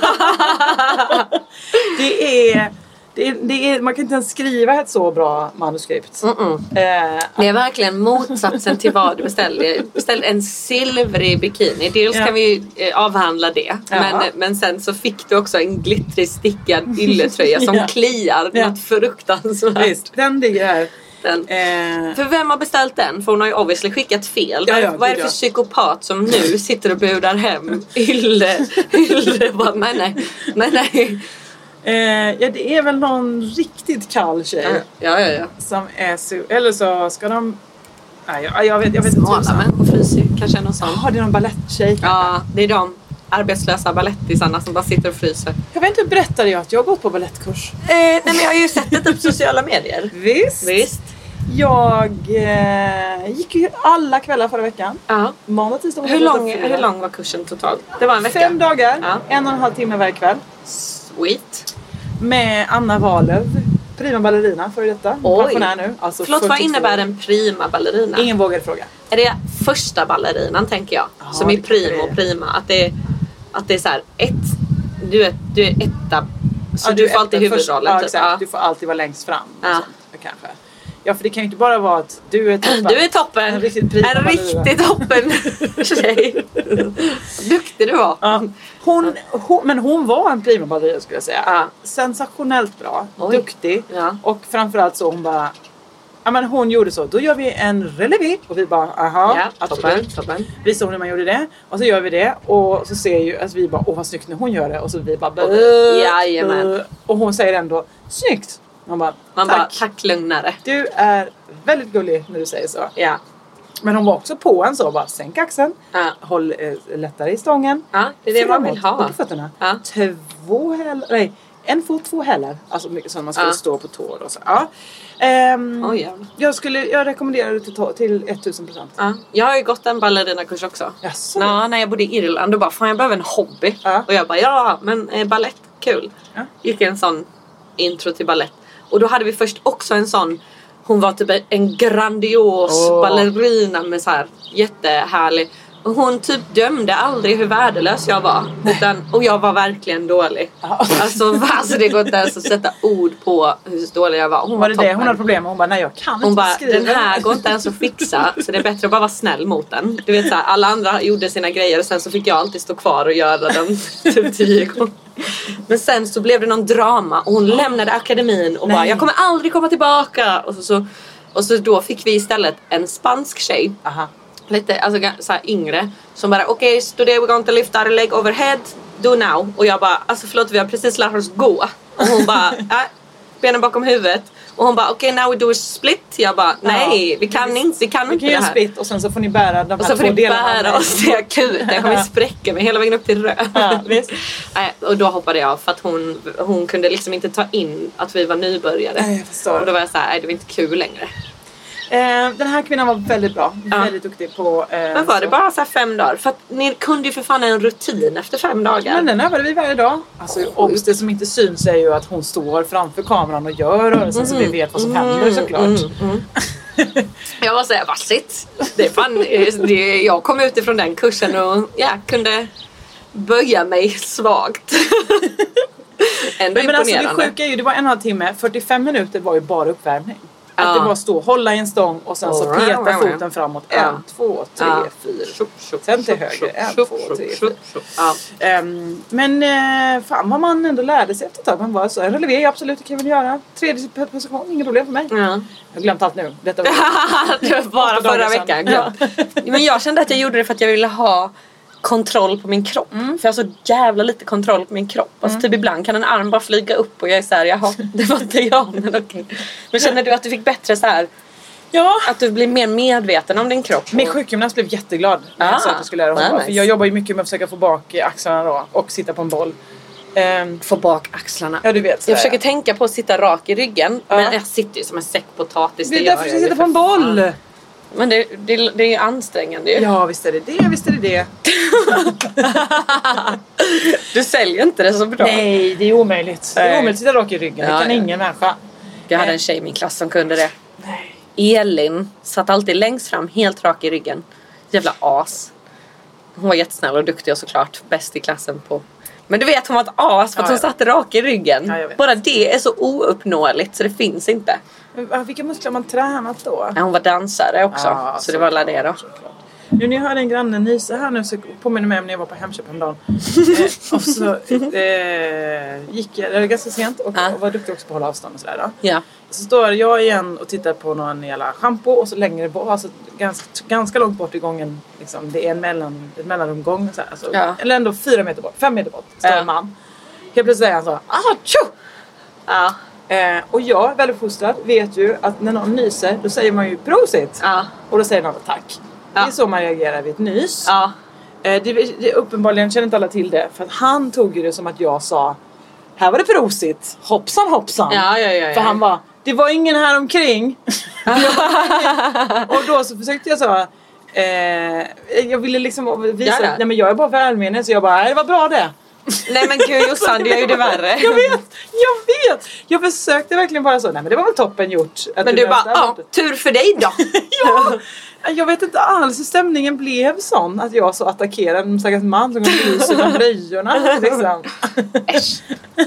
Speaker 2: Det är, det är, det är, man kan inte ens skriva ett så bra manuskript.
Speaker 3: Mm-mm.
Speaker 2: Eh,
Speaker 3: Det är verkligen motsatsen till vad du beställde. Beställ en silvrig bikini. Dels
Speaker 2: Ja.
Speaker 3: kan vi ju eh, avhandla det.
Speaker 2: Ja.
Speaker 3: Men, eh, men sen så fick du också en glittrig stickad ylletröja som
Speaker 2: [laughs] Ja.
Speaker 3: kliar
Speaker 2: Ja.
Speaker 3: något fruktansvärt.
Speaker 2: visst, den ligger här.
Speaker 3: den.
Speaker 2: Eh,
Speaker 3: För vem har beställt den? För hon har ju obviously skickat fel.
Speaker 2: Ja, ja,
Speaker 3: Vad är
Speaker 2: gud,
Speaker 3: det
Speaker 2: ja.
Speaker 3: för psykopat som nu sitter och budar hem Ylle? Ylle bara, men nej, men nej.
Speaker 2: eh, ja, det är väl någon riktigt kall tjej
Speaker 3: Ja, ja, ja.
Speaker 2: som är så... Eller så ska de... Nej, jag, jag vet, jag vet inte.
Speaker 3: Smala
Speaker 2: tusan.
Speaker 3: män och fryser ju. kanske är någon sån.
Speaker 2: Jaha, det är någon baletttjej.
Speaker 3: Ja, det är de arbetslösa balettisarna som bara sitter och fryser.
Speaker 2: Jag vet inte, berättade jag att jag har gått på balettkurs?
Speaker 3: Eh, nej men jag har ju sett det typ på sociala medier.
Speaker 2: Visst.
Speaker 3: Visst.
Speaker 2: Jag eh, gick ju alla kvällar förra veckan.
Speaker 3: Ja.
Speaker 2: Måndag, tisdag,
Speaker 3: Hur
Speaker 2: onsdag,
Speaker 3: lång,
Speaker 2: fredag.
Speaker 3: hur lång var kursen totalt? Det var en vecka?
Speaker 2: Fem dagar,
Speaker 3: Ja.
Speaker 2: en och en halv timme varje kväll.
Speaker 3: Sweet.
Speaker 2: Med Anna Wahlöv, prima ballerina före detta.
Speaker 3: Oj.
Speaker 2: Pensionär nu. Alltså
Speaker 3: Förlåt, vad
Speaker 2: 42.
Speaker 3: innebär en prima ballerina?
Speaker 2: Ingen vågade fråga.
Speaker 3: Är det första ballerinan tänker jag?
Speaker 2: Ja,
Speaker 3: som är
Speaker 2: det kanske
Speaker 3: primo
Speaker 2: det är.
Speaker 3: och prima. Att det är, att det är så här ett, du är, du är etta. Så
Speaker 2: Ja,
Speaker 3: du,
Speaker 2: är
Speaker 3: får alltid
Speaker 2: öppen först.
Speaker 3: huvudrollen
Speaker 2: ja,
Speaker 3: typ.
Speaker 2: exakt.
Speaker 3: Ja.
Speaker 2: Du får alltid vara längst fram. och
Speaker 3: Ja.
Speaker 2: sånt, Kanske. Ja, för det kan ju inte bara vara att du är toppen.
Speaker 3: Du är toppen!
Speaker 2: En riktigt prima
Speaker 3: en
Speaker 2: ballerina. [laughs]
Speaker 3: riktigt toppen tjej! Duktig du var!
Speaker 2: Ja. Hon, hon, men hon var en prima ballerina skulle jag säga.
Speaker 3: Ja.
Speaker 2: Sensationellt bra,
Speaker 3: Oj.
Speaker 2: duktig
Speaker 3: Ja.
Speaker 2: och framförallt så hon bara Ja, men hon gjorde så, då gör vi en relevé och vi bara aha,
Speaker 3: Ja, toppen,
Speaker 2: absolut.
Speaker 3: toppen.
Speaker 2: Visar hon hur man gjorde det och så gör vi det och så ser ju alltså, vi bara åh vad snyggt när hon gör det och så vi bara
Speaker 3: Och-
Speaker 2: "Bäh,
Speaker 3: jajamän."
Speaker 2: bäh." och hon säger ändå snyggt. Man bara,
Speaker 3: Man
Speaker 2: tack.
Speaker 3: bara, tack lugnare.
Speaker 2: Du är väldigt gullig när du säger så.
Speaker 3: Ja.
Speaker 2: Men hon var också på en så bara sänk axeln,
Speaker 3: Ja.
Speaker 2: håll eh, lättare i stången.
Speaker 3: ja, det är det man vill
Speaker 2: Framåt,
Speaker 3: ha.
Speaker 2: upp på fötterna.
Speaker 3: Ja.
Speaker 2: Två hälar, nej en fot, två hälar. Alltså mycket som man skulle
Speaker 3: Ja.
Speaker 2: stå på tår och så. Ja. Ehm,
Speaker 3: Oj, jävlar.
Speaker 2: jag, skulle, jag rekommenderar det till, to- till 1000%.
Speaker 3: ja. Jag har ju gått en ballerinakurs också.
Speaker 2: Jaså?
Speaker 3: Nå, när jag bodde i Irland och bara fan jag behöver en hobby.
Speaker 2: Ja.
Speaker 3: Och jag bara ja men eh, ballett kul.
Speaker 2: Ja.
Speaker 3: Gick en sån intro till ballett. Och då hade vi först också en sån hon var typ en grandios
Speaker 2: Åh.
Speaker 3: ballerina med så här jättehärlig och hon typ dömde aldrig hur värdelös jag var. Utan, och jag var verkligen dålig. Alltså, [laughs] va, alltså det går inte ens att sätta ord på hur dålig jag var. Hon
Speaker 2: Var det det
Speaker 3: toppen.
Speaker 2: hon hade problem med? Hon bara nej jag kan
Speaker 3: Hon
Speaker 2: inte
Speaker 3: bara,
Speaker 2: skriva.
Speaker 3: den här går inte ens att fixa så det är bättre att bara vara snäll mot den. Du vet så här, alla andra gjorde sina grejer och sen så fick jag alltid stå kvar och göra den [laughs] typ tio gånger. Men sen så blev det någon drama och hon lämnade akademin och bara,
Speaker 2: Nej.
Speaker 3: jag kommer aldrig komma tillbaka. Och så, så, och så då fick vi istället en spansk tjej
Speaker 2: [laughs] Aha.
Speaker 3: lite alltså, ga- så här yngre som bara okej today we're going to lift our leg overhead do now och jag bara alltså förlåt vi har precis lärt oss gå och
Speaker 2: [laughs]
Speaker 3: hon bara äh, benen bakom huvudet och hon bara okej now we do a split jag bara nej vi kan inte vi kan
Speaker 2: Vi
Speaker 3: inte
Speaker 2: kan
Speaker 3: det
Speaker 2: göra
Speaker 3: här
Speaker 2: split och sen så får ni bära de
Speaker 3: och
Speaker 2: här
Speaker 3: så får
Speaker 2: två
Speaker 3: ni
Speaker 2: delarna. av
Speaker 3: bära
Speaker 2: mig.
Speaker 3: oss till
Speaker 2: [laughs]
Speaker 3: akuten jag kommer spräcka mig hela vägen upp till röven
Speaker 2: Ja, visst.
Speaker 3: Nej, och då hoppade jag för att hon, hon kunde liksom inte ta in att vi var nybörjare
Speaker 2: Nej, jag förstår.
Speaker 3: och då var jag såhär nej det var inte kul längre
Speaker 2: Eh, den här kvinnan var väldigt bra.
Speaker 3: Ja.
Speaker 2: Väldigt duktig på... Eh,
Speaker 3: Men var det
Speaker 2: så-
Speaker 3: bara så här fem dagar? För att ni kunde ju för fan en rutin efter fem dagar.
Speaker 2: Men den övade vi varje dag. Alltså, obs, det som inte syns är ju att hon står framför kameran och gör rörelsen så vi
Speaker 3: Mm.
Speaker 2: vet vad som händer såklart.
Speaker 3: Jag var såhär, vad sitt? Det
Speaker 2: [laughs]
Speaker 3: är fan, det, jag kom ut ifrån den kursen och ja, kunde böja
Speaker 2: [laughs]
Speaker 3: mig svagt. Ändå
Speaker 2: Men, men alltså det
Speaker 3: imponerande.
Speaker 2: sjuka är ju, det var en och en halv timme, 45 minuter var ju bara uppvärmning.
Speaker 3: Ja.
Speaker 2: Att det var stå, hålla i en stång och sen så
Speaker 3: Och rau,
Speaker 2: peta
Speaker 3: rau, rau.
Speaker 2: foten framåt.
Speaker 3: Ja.
Speaker 2: En, två, tre,
Speaker 3: Ja.
Speaker 2: fyra.
Speaker 3: Tjup, tjup,
Speaker 2: Sen till
Speaker 3: tjup,
Speaker 2: höger.
Speaker 3: tjup,
Speaker 2: En,
Speaker 3: tjup,
Speaker 2: två,
Speaker 3: tjup,
Speaker 2: tre,
Speaker 3: tjup,
Speaker 2: fyra.
Speaker 3: tjup. Ja.
Speaker 2: Ehm, men eh, fan vad man ändå lärde sig efter ett tag. Man var så, en relevé, absolut det kan jag väl göra. Tredje position, inget problem för mig.
Speaker 3: Ja.
Speaker 2: Jag har glömt allt nu. Detta var
Speaker 3: [laughs] det var bara
Speaker 2: Åtta dagar
Speaker 3: förra
Speaker 2: sedan.
Speaker 3: veckan. glömt. Men jag kände att jag gjorde det för att jag ville ha kontroll på min kropp.
Speaker 2: Mm.
Speaker 3: För jag har så jävla lite kontroll på min kropp. Alltså typ ibland kan en arm bara flyga upp och jag är såhär, jaha det var inte jag men okej. Men känner du att du fick bättre så här
Speaker 2: Ja.
Speaker 3: att du blir mer medveten om din kropp?
Speaker 2: Min
Speaker 3: Och-
Speaker 2: sjukgymnast blev jätteglad när
Speaker 3: Ah,
Speaker 2: jag sa att jag skulle lära honom.
Speaker 3: vad
Speaker 2: För
Speaker 3: nice.
Speaker 2: jag jobbar ju mycket med att försöka få bak eh, axlarna då och sitta på en boll. Ehm,
Speaker 3: få bak axlarna.
Speaker 2: ja du vet. sådär,
Speaker 3: jag försöker
Speaker 2: ja.
Speaker 3: tänka på att sitta rak i ryggen
Speaker 2: Ja.
Speaker 3: men jag sitter ju som en säck potatis.
Speaker 2: det är
Speaker 3: gör
Speaker 2: därför
Speaker 3: jag
Speaker 2: jag
Speaker 3: ju
Speaker 2: sitter
Speaker 3: för
Speaker 2: på en
Speaker 3: fan.
Speaker 2: boll.
Speaker 3: Men det, det, det är ju ansträngande ju.
Speaker 2: Ja visst är det det, visst är det det.
Speaker 3: Du säljer inte det så bra.
Speaker 2: Nej det är omöjligt. Det är
Speaker 3: Nej.
Speaker 2: omöjligt att sitta rak i ryggen.
Speaker 3: Ja,
Speaker 2: det kan
Speaker 3: ja.
Speaker 2: ingen människa.
Speaker 3: Jag hade en tjej i min klass som kunde det. Elin satt alltid längst fram, helt rak i ryggen. Jävla as. Hon var jättesnäll och duktig och såklart bäst i klassen på... Men du vet hon var ett as för att
Speaker 2: Ja,
Speaker 3: hon
Speaker 2: ja.
Speaker 3: satt rak i ryggen.
Speaker 2: Ja, jag vet.
Speaker 3: Bara det är så ouppnåeligt så det finns inte.
Speaker 2: Men, ah, Vilka muskler har man tränat då?
Speaker 3: Ja, hon var dansare också
Speaker 2: Ah,
Speaker 3: så det var la det då.
Speaker 2: såklart. Nu när jag hörde en granne nysa här nu så påminner mig om när jag var på Hemköp häromdagen. eh, och
Speaker 3: [laughs]
Speaker 2: så eh, gick jag, det var ganska sent och,
Speaker 3: Ja.
Speaker 2: och var duktig också på att hålla avstånd och sådär. Då.
Speaker 3: Ah. Ja.
Speaker 2: Så står jag igen och tittar på någon jävla schampo och så längre bort, alltså ganska, ganska långt bort i gången, liksom, det är en mellan, ett mellanrumgång, så här, alltså,
Speaker 3: Ja.
Speaker 2: eller ändå fyra meter bort, fem meter bort, står
Speaker 3: Ja.
Speaker 2: en man. Helt plötsligt säger han så här, ah, tjo!
Speaker 3: Ja.
Speaker 2: Eh, och jag, väluppfostrad, vet ju att när någon nyser då säger man ju prosit.
Speaker 3: Ja.
Speaker 2: Och då säger någon tack. Det är så man reagerar vid ett nys.
Speaker 3: Ja.
Speaker 2: Eh, det, det, uppenbarligen känner inte alla till det för att han tog ju det som att jag sa här var det prosit, hoppsan hoppsan.
Speaker 3: Ja, ja, ja, ja.
Speaker 2: För han var det var ingen här omkring.
Speaker 3: [laughs]
Speaker 2: och då så försökte jag så eh, jag ville liksom visa,
Speaker 3: Ja, ja.
Speaker 2: nej men jag är bara välmenande så jag bara, "Nej, det var bra det.
Speaker 3: Nej men gud Jossan, du gör ju det värre.
Speaker 2: [laughs] Jag vet, jag vet! Jag försökte verkligen bara så, nej men det var väl toppen gjort. Att
Speaker 3: Men du bara,
Speaker 2: löste
Speaker 3: ja,
Speaker 2: allt."
Speaker 3: tur för dig då.
Speaker 2: ja! Jag vet inte alls hur stämningen blev sån att jag så attackerade en stackars man som kom och lyser bland blöjorna. Liksom.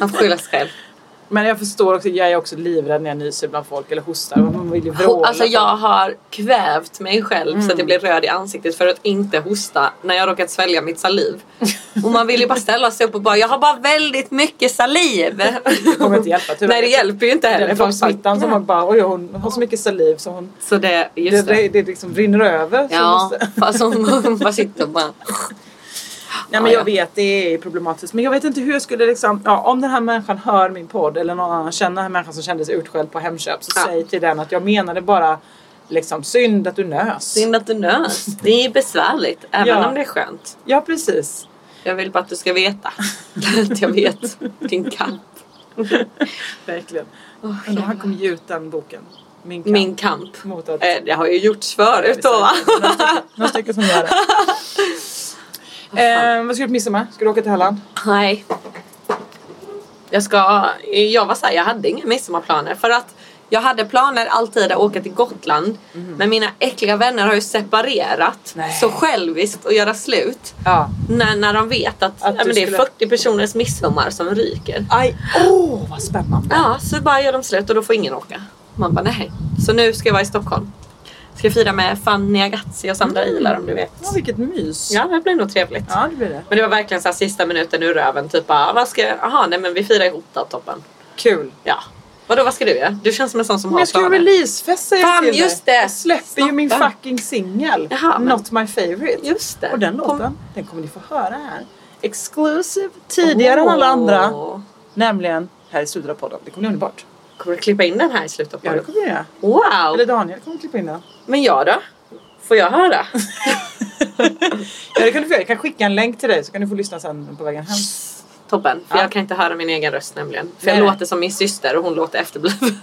Speaker 3: Man får skylla sig själv.
Speaker 2: Men jag förstår också, jag är också livrädd när jag nyser bland folk eller hostar. Man vill ju
Speaker 3: Ho-
Speaker 2: vråla. Mm.
Speaker 3: Alltså jag har kvävt mig själv så att jag blir röd i ansiktet för att inte hosta när jag råkat svälja mitt saliv. Och man vill ju bara ställa sig upp och bara jag har bara väldigt mycket saliv. Det
Speaker 2: kommer inte hjälpa, tyvärr.
Speaker 3: Nej det hjälper ju inte
Speaker 2: Det
Speaker 3: heller.
Speaker 2: är från smittan som man bara, oj hon har så mycket saliv så hon,
Speaker 3: Så det,
Speaker 2: det,
Speaker 3: just det.
Speaker 2: det, det liksom rinner över. så
Speaker 3: Ja,
Speaker 2: måste-
Speaker 3: fast hon bara sitter och bara.
Speaker 2: [laughs] Nej men
Speaker 3: Ja,
Speaker 2: jag
Speaker 3: ja.
Speaker 2: vet det är problematiskt men jag vet inte hur jag skulle liksom, ja, om den här människan hör min podd eller någon annan känner den här människan som kände sig utskälld på Hemköp så
Speaker 3: Ja.
Speaker 2: säg till den att jag menade bara liksom synd att du nös.
Speaker 3: Synd att du nös. Det är besvärligt även
Speaker 2: Ja.
Speaker 3: om det är skönt.
Speaker 2: Ja precis.
Speaker 3: Jag vill bara att du ska veta att jag vet din kamp.
Speaker 2: Verkligen. Undrar om han kommer ge ut den boken. Min kamp.
Speaker 3: Min kamp.
Speaker 2: Mot att...
Speaker 3: Eh, Det har ju gjorts förut då va? [laughs]
Speaker 2: Några stycken- [laughs] Några stycken som gör
Speaker 3: [laughs]
Speaker 2: det. eh, vad ska du på midsommar? Ska du åka till Halland?
Speaker 3: Nej. Jag ska... Jag var såhär, jag hade inga midsommarplaner för att jag hade planer alltid att åka till Gotland men mina äckliga vänner har ju separerat
Speaker 2: Mhm. Nej.
Speaker 3: så själviskt att göra slut
Speaker 2: Ja.
Speaker 3: när, när de vet att,
Speaker 2: Att
Speaker 3: nej,
Speaker 2: du
Speaker 3: men det är
Speaker 2: skulle-
Speaker 3: 40 personers midsommar som ryker.
Speaker 2: Aj, åh oh, vad spännande.
Speaker 3: Ja, så bara gör de slut och då får ingen åka. Man bara nej. Så nu ska jag vara i Stockholm. Ska fira med Fanny Agazzi och Sandra Ilar om du vet.
Speaker 2: Mm. Ja, vilket mys.
Speaker 3: Ja, det blir nog trevligt.
Speaker 2: ja det blir det.
Speaker 3: Men det var verkligen så här sista minuten ur röven. Typ bara, vad ska jag? Jaha, nej men vi firar ihop då, toppen.
Speaker 2: Kul.
Speaker 3: Ja. Vadå vad ska du göra? Du känns som en sån som
Speaker 2: Men
Speaker 3: har
Speaker 2: jag ska ju
Speaker 3: planer.
Speaker 2: releasefest säger
Speaker 3: Fan,
Speaker 2: jag till dig.
Speaker 3: just det.
Speaker 2: Jag släpper ju min
Speaker 3: Stoppa.
Speaker 2: fucking singel.
Speaker 3: Jaha, men-
Speaker 2: Not my favorite.
Speaker 3: Just det.
Speaker 2: Och den
Speaker 3: Kom-
Speaker 2: låten, den kommer ni få höra här. Exclusive, tidigare än alla andra.
Speaker 3: Åh.
Speaker 2: Nämligen här i slutet av podden. Det kommer bli underbart.
Speaker 3: Kommer du klippa in den här i slutet av
Speaker 2: Ja, det
Speaker 3: podden?
Speaker 2: kommer jag göra. Eller
Speaker 3: Wow!
Speaker 2: Daniel kommer klippa in den.
Speaker 3: Men jag då? Får jag höra?
Speaker 2: [laughs] Ja, det kan du få göra. Jag kan skicka en länk till dig så kan du få lyssna sen på vägen hem.
Speaker 3: Toppen, för
Speaker 2: Ja.
Speaker 3: jag kan inte höra min egen röst nämligen. För
Speaker 2: Nej.
Speaker 3: jag låter som min syster och hon
Speaker 2: [laughs]
Speaker 3: låter efterbliven.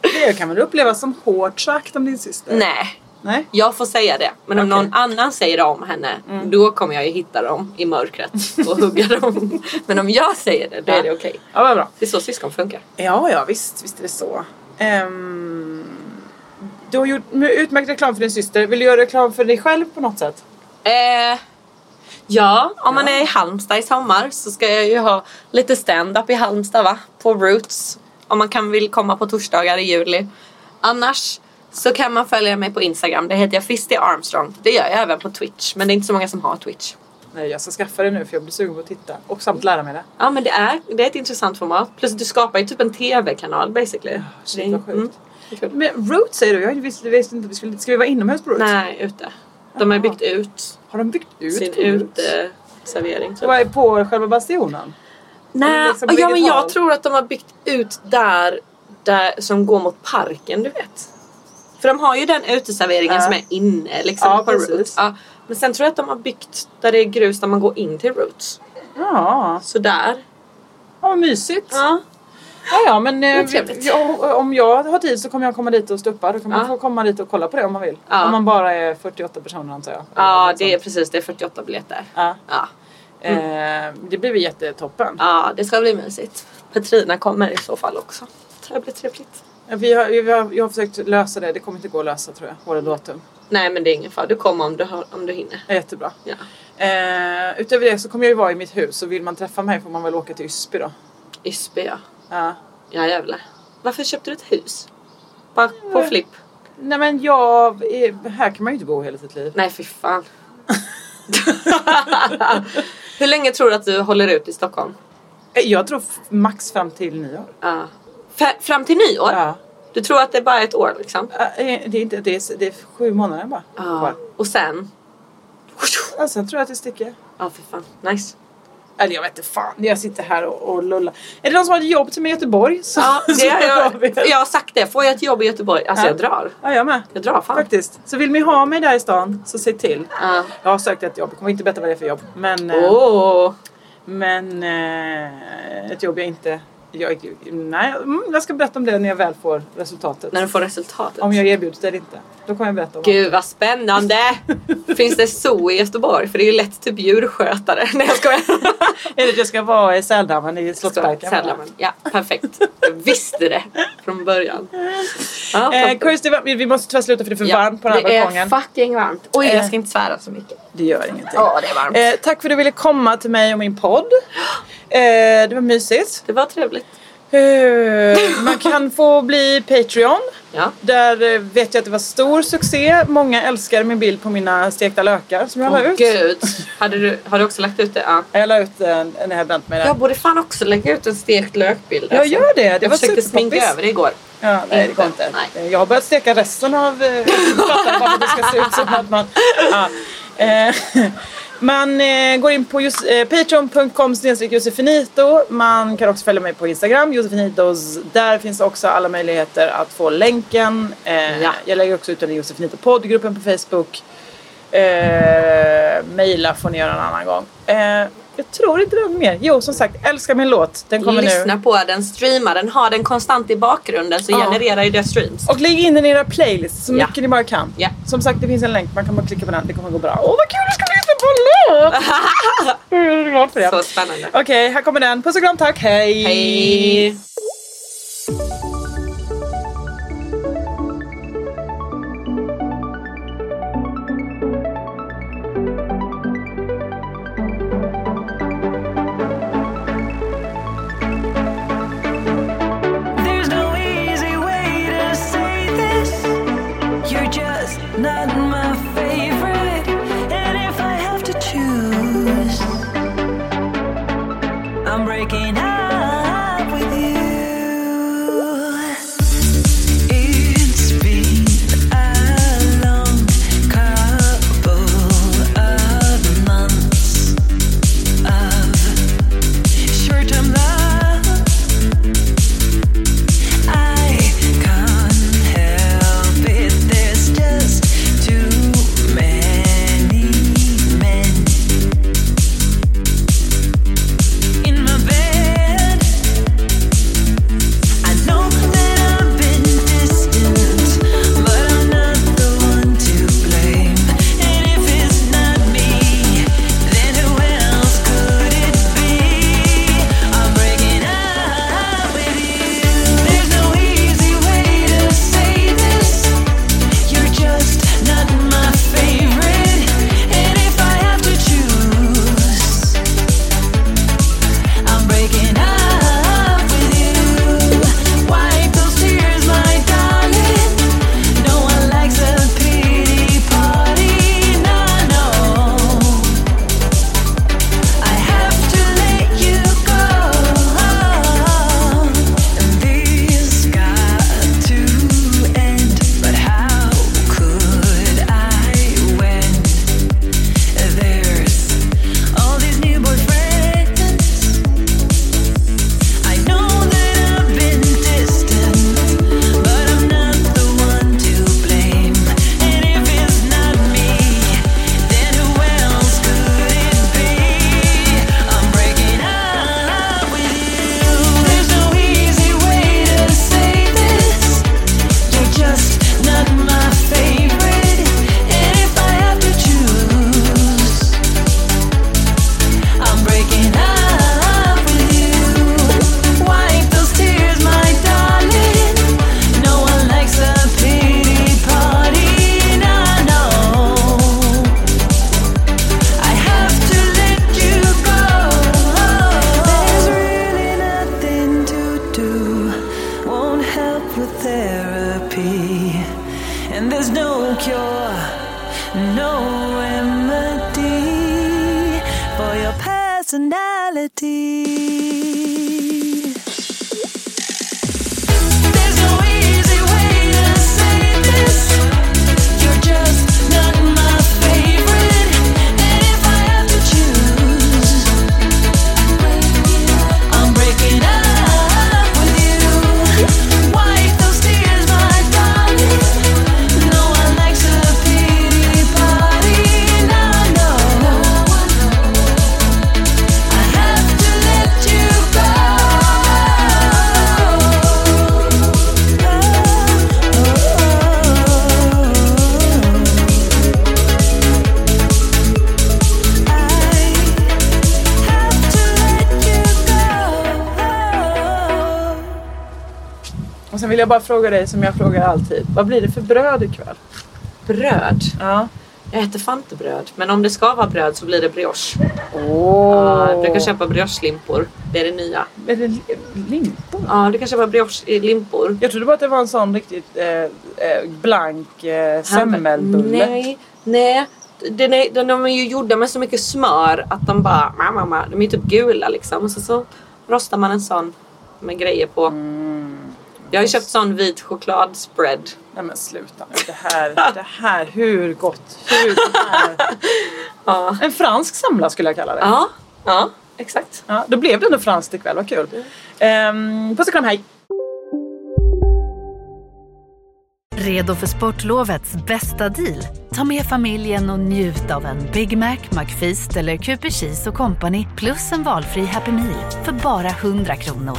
Speaker 2: Det kan väl upplevas som hårt sagt om din syster?
Speaker 3: Nej,
Speaker 2: Nej?
Speaker 3: jag får säga det. Men om
Speaker 2: Okej.
Speaker 3: någon annan säger det om henne, då kommer jag ju hitta dem i mörkret [laughs] och hugga dem. Men om jag säger det, då är det okej.
Speaker 2: Ja, vad bra.
Speaker 3: Det är så syskon funkar.
Speaker 2: Ja, ja, visst. Visst är det så. Ehm, du har gjort utmärkt reklam för din syster. Vill du göra reklam för dig själv på något sätt?
Speaker 3: Eh, ja, om man är i Halmstad i sommar så ska jag ju ha lite stand-up i Halmstad va? På Roots. Om man kan vill komma på torsdagar i juli. Annars så kan man följa mig på Instagram. Det heter jag Fisti Armstrong. Det gör jag även på Twitch. Men det är inte så många som har Twitch.
Speaker 2: Nej, jag ska skaffa det nu för jag blir sugen på att titta. Och samt lära mig det.
Speaker 3: Ja men det är, det är ett intressant format. Plus att du skapar ju typ en TV-kanal basically.
Speaker 2: Ah, Shit, vad
Speaker 3: Mm.
Speaker 2: sjukt. Men Root säger du? Jag visste, visste inte. Vi skulle, ska vi vara inomhus på Root?
Speaker 3: Mm. Nej, ute. De har ju byggt ut
Speaker 2: Har de byggt ut
Speaker 3: sin
Speaker 2: på Root?
Speaker 3: uteservering. typ.
Speaker 2: Det var på själva bastionen? Eller
Speaker 3: Nej,
Speaker 2: liksom
Speaker 3: ja, men
Speaker 2: vegetal.
Speaker 3: jag tror att de har byggt ut där, där som går mot parken, du vet. För de har ju den uteserveringen
Speaker 2: Ja.
Speaker 3: som är inne liksom,
Speaker 2: Ja,
Speaker 3: på
Speaker 2: precis.
Speaker 3: Roots. Ja, men sen tror jag att de har byggt där det är grus där man går in till Roots.
Speaker 2: Ja,
Speaker 3: Så där.
Speaker 2: ja vad mysigt.
Speaker 3: Ja.
Speaker 2: Ja, ja men eh,
Speaker 3: trevligt.
Speaker 2: jag, om jag har tid så kommer jag komma dit och stuppa. Då kan man
Speaker 3: Ja.
Speaker 2: få komma dit och kolla på det om man vill.
Speaker 3: Ja.
Speaker 2: Om man bara är 48 personer antar jag.
Speaker 3: ja,
Speaker 2: Eller
Speaker 3: det är
Speaker 2: något
Speaker 3: precis. Det är 48 biljetter.
Speaker 2: sånt. Ja.
Speaker 3: Ja, Mm.
Speaker 2: Eh, det blir väl jättetoppen.
Speaker 3: ja det ska bli mysigt. Petrina kommer i så fall också. Det här blir trevligt.
Speaker 2: Vi har, vi har, jag har försökt lösa det. Det kommer inte gå att lösa tror jag. Våra datum.
Speaker 3: Nej, men det är ingen fara. Du kommer om du, har, om du hinner.
Speaker 2: Det är jättebra.
Speaker 3: Ja.
Speaker 2: Eh, utöver det så kommer jag ju vara i mitt hus. Så vill man träffa mig får man väl åka till Ysby då.
Speaker 3: Ysby, ja.
Speaker 2: Ja.
Speaker 3: Ja jävlar. Varför köpte du ett hus? Bara på flipp?
Speaker 2: Nej men jag, är- här kan man ju inte bo hela sitt liv.
Speaker 3: Nej, fy fan. [laughs] Hur länge tror du att du håller ut i Stockholm?
Speaker 2: Eh, Jag tror f- max fram till nyår.
Speaker 3: Ja. F- fram till nyår?
Speaker 2: Ja.
Speaker 3: Du tror att det är bara ett år liksom?
Speaker 2: Äh, eh, Det är, inte, det är, det är sju månader bara
Speaker 3: Ja.
Speaker 2: kvar.
Speaker 3: Och sen?
Speaker 2: Ja, sen tror jag att det sticker.
Speaker 3: Ja, fy fan. Nice.
Speaker 2: Eller jag vet inte fan, jag sitter här och, och lullar. Är det någon som har ett jobb till mig i Göteborg? [laughs] Så,
Speaker 3: Ja,
Speaker 2: [laughs] så
Speaker 3: det har
Speaker 2: hör vi.
Speaker 3: jag, jag har sagt det. Får jag ett jobb i Göteborg? Alltså
Speaker 2: Ja.
Speaker 3: jag drar.
Speaker 2: Ja, jag med.
Speaker 3: Jag drar fan.
Speaker 2: Faktiskt. Så vill ni ha mig där i stan så se till.
Speaker 3: Ja.
Speaker 2: Jag har sökt ett jobb, jag kommer inte berätta vad det är för jobb. Men, eh,
Speaker 3: Åh.
Speaker 2: men eh, ett jobb jag inte... Jag, nej, mm, jag ska berätta om det när jag väl får resultatet.
Speaker 3: När du får resultatet.
Speaker 2: Om jag erbjuds det eller inte. Då kommer jag berätta om det.
Speaker 3: Gud
Speaker 2: [laughs]
Speaker 3: vad spännande! Finns det zoo i Göteborg? För det är ju lätt typ djurskötare. [laughs] Nej jag skojar.
Speaker 2: Eller att jag ska vara i Säldammen i [laughs] Slottsparken.
Speaker 3: Sädlarman. Ja, perfekt. Jag visste det från början. Ja,
Speaker 2: Eh,
Speaker 3: toppen.
Speaker 2: Kirsty, va- vi vi måste tyvärr sluta för det är för
Speaker 3: Ja,
Speaker 2: varmt på den här
Speaker 3: Det
Speaker 2: balkongen.
Speaker 3: är fucking varmt. Oj,
Speaker 2: Eh.
Speaker 3: jag ska inte svära så mycket.
Speaker 2: Det gör ingenting.
Speaker 3: Ja, det är varmt.
Speaker 2: Eh, tack för att du ville komma till mig och min podd. Eh, det var mysigt.
Speaker 3: Det var trevligt.
Speaker 2: Eh, man kan få bli Patreon.
Speaker 3: Ja.
Speaker 2: Där eh, vet jag att det var stor succé. Många älskar min bild på mina stekta lökar som jag la
Speaker 3: Åh
Speaker 2: ut.
Speaker 3: gud. Hade du, har du också lagt ut det? Ja.
Speaker 2: Jag la ut eh, när jag vänt mig där.
Speaker 3: Jag borde fan också lägga ut en stekt lökbild.
Speaker 2: Jag gör det. Det
Speaker 3: jag
Speaker 2: var
Speaker 3: försökte sminka
Speaker 2: superpoppis.
Speaker 3: över det igår.
Speaker 2: Ja, nej, det går
Speaker 3: Inte.
Speaker 2: inte. Jag har börjat steka resten av eh, plattan bara för att det ska se ut som att man... Ja. Eh, [laughs] man eh, går in på just- eh, patreon.com snedstreck Josefinito. Man kan också följa mig på Instagram, Josefinitos. Där finns också alla möjligheter att få länken. Eh,
Speaker 3: Ja.
Speaker 2: Jag lägger också ut den i Josefinito poddgruppen på Facebook. Eh, maila får ni göra en annan gång. Eh, jag tror inte det var mer. Jo, som sagt, älska min låt. Den kommer nu.
Speaker 3: Lyssna på den, streama den, ha den konstant i bakgrunden så
Speaker 2: Ja.
Speaker 3: genererar ju det streams.
Speaker 2: Och lägg in den i era playlists så
Speaker 3: Ja.
Speaker 2: mycket ni bara kan.
Speaker 3: Ja.
Speaker 2: Som sagt, det finns en länk. Man kan bara klicka på den. Det kommer gå bra. Åh, vad kul! Du ska lyssna på en låt!
Speaker 3: [laughs]
Speaker 2: Jag är glad för det.
Speaker 3: Så spännande.
Speaker 2: Okej, här kommer den. Puss och kram, tack. Hej!
Speaker 3: Hej!
Speaker 6: There's no easy way to say this. You're just not my favorite. And if I have to choose, I'm breaking up with you. It's been a long couple of months of short-term love. I can't help it. There's just too no remedy for your personality. There's no easy way to say this. You're just not my favorite. And if I have to choose, I'm breaking up with you. Wipe those tears, my darling. No one likes a pity party. Now I know. I have to let you
Speaker 2: Och sen vill jag bara fråga dig som jag frågar alltid. Vad blir det för bröd ikväll?
Speaker 3: Bröd.
Speaker 2: Ja.
Speaker 3: Jag äter fan inte bröd. Men om det ska vara bröd så blir det brioche.
Speaker 2: Åh.
Speaker 3: Ja, du kan köpa brioche-limpor. Det är det nya.
Speaker 2: Är det li- limpor?
Speaker 3: Ja, du kan köpa brioche-limpor.
Speaker 2: Jag trodde bara att det var en sån riktigt eh, eh, blank eh, semmelbulle.
Speaker 3: Nej, nej. Den är, den, de är ju gjorda med så mycket smör att de bara... ma, ma, ma. De är ju typ gula liksom. Och så, så rostar man en sån med grejer på.
Speaker 2: Mm.
Speaker 3: Jag har ju köpt sån vit chokladspread.
Speaker 2: Nej men sluta nu. Det här, det här, hur gott? Hur gott är
Speaker 3: [laughs] Ja.
Speaker 2: det? En fransk semla skulle jag kalla det.
Speaker 3: Ja, ja exakt.
Speaker 2: Ja, då blev det ändå franskt ikväll, vad kul. Um, puss och kram, hej!
Speaker 4: Redo för sportlovets bästa deal? Ta med familjen och njut av en Big Mac, McFeast eller Cooper Cheese och Company plus en valfri Happy Meal för bara 100 kronor.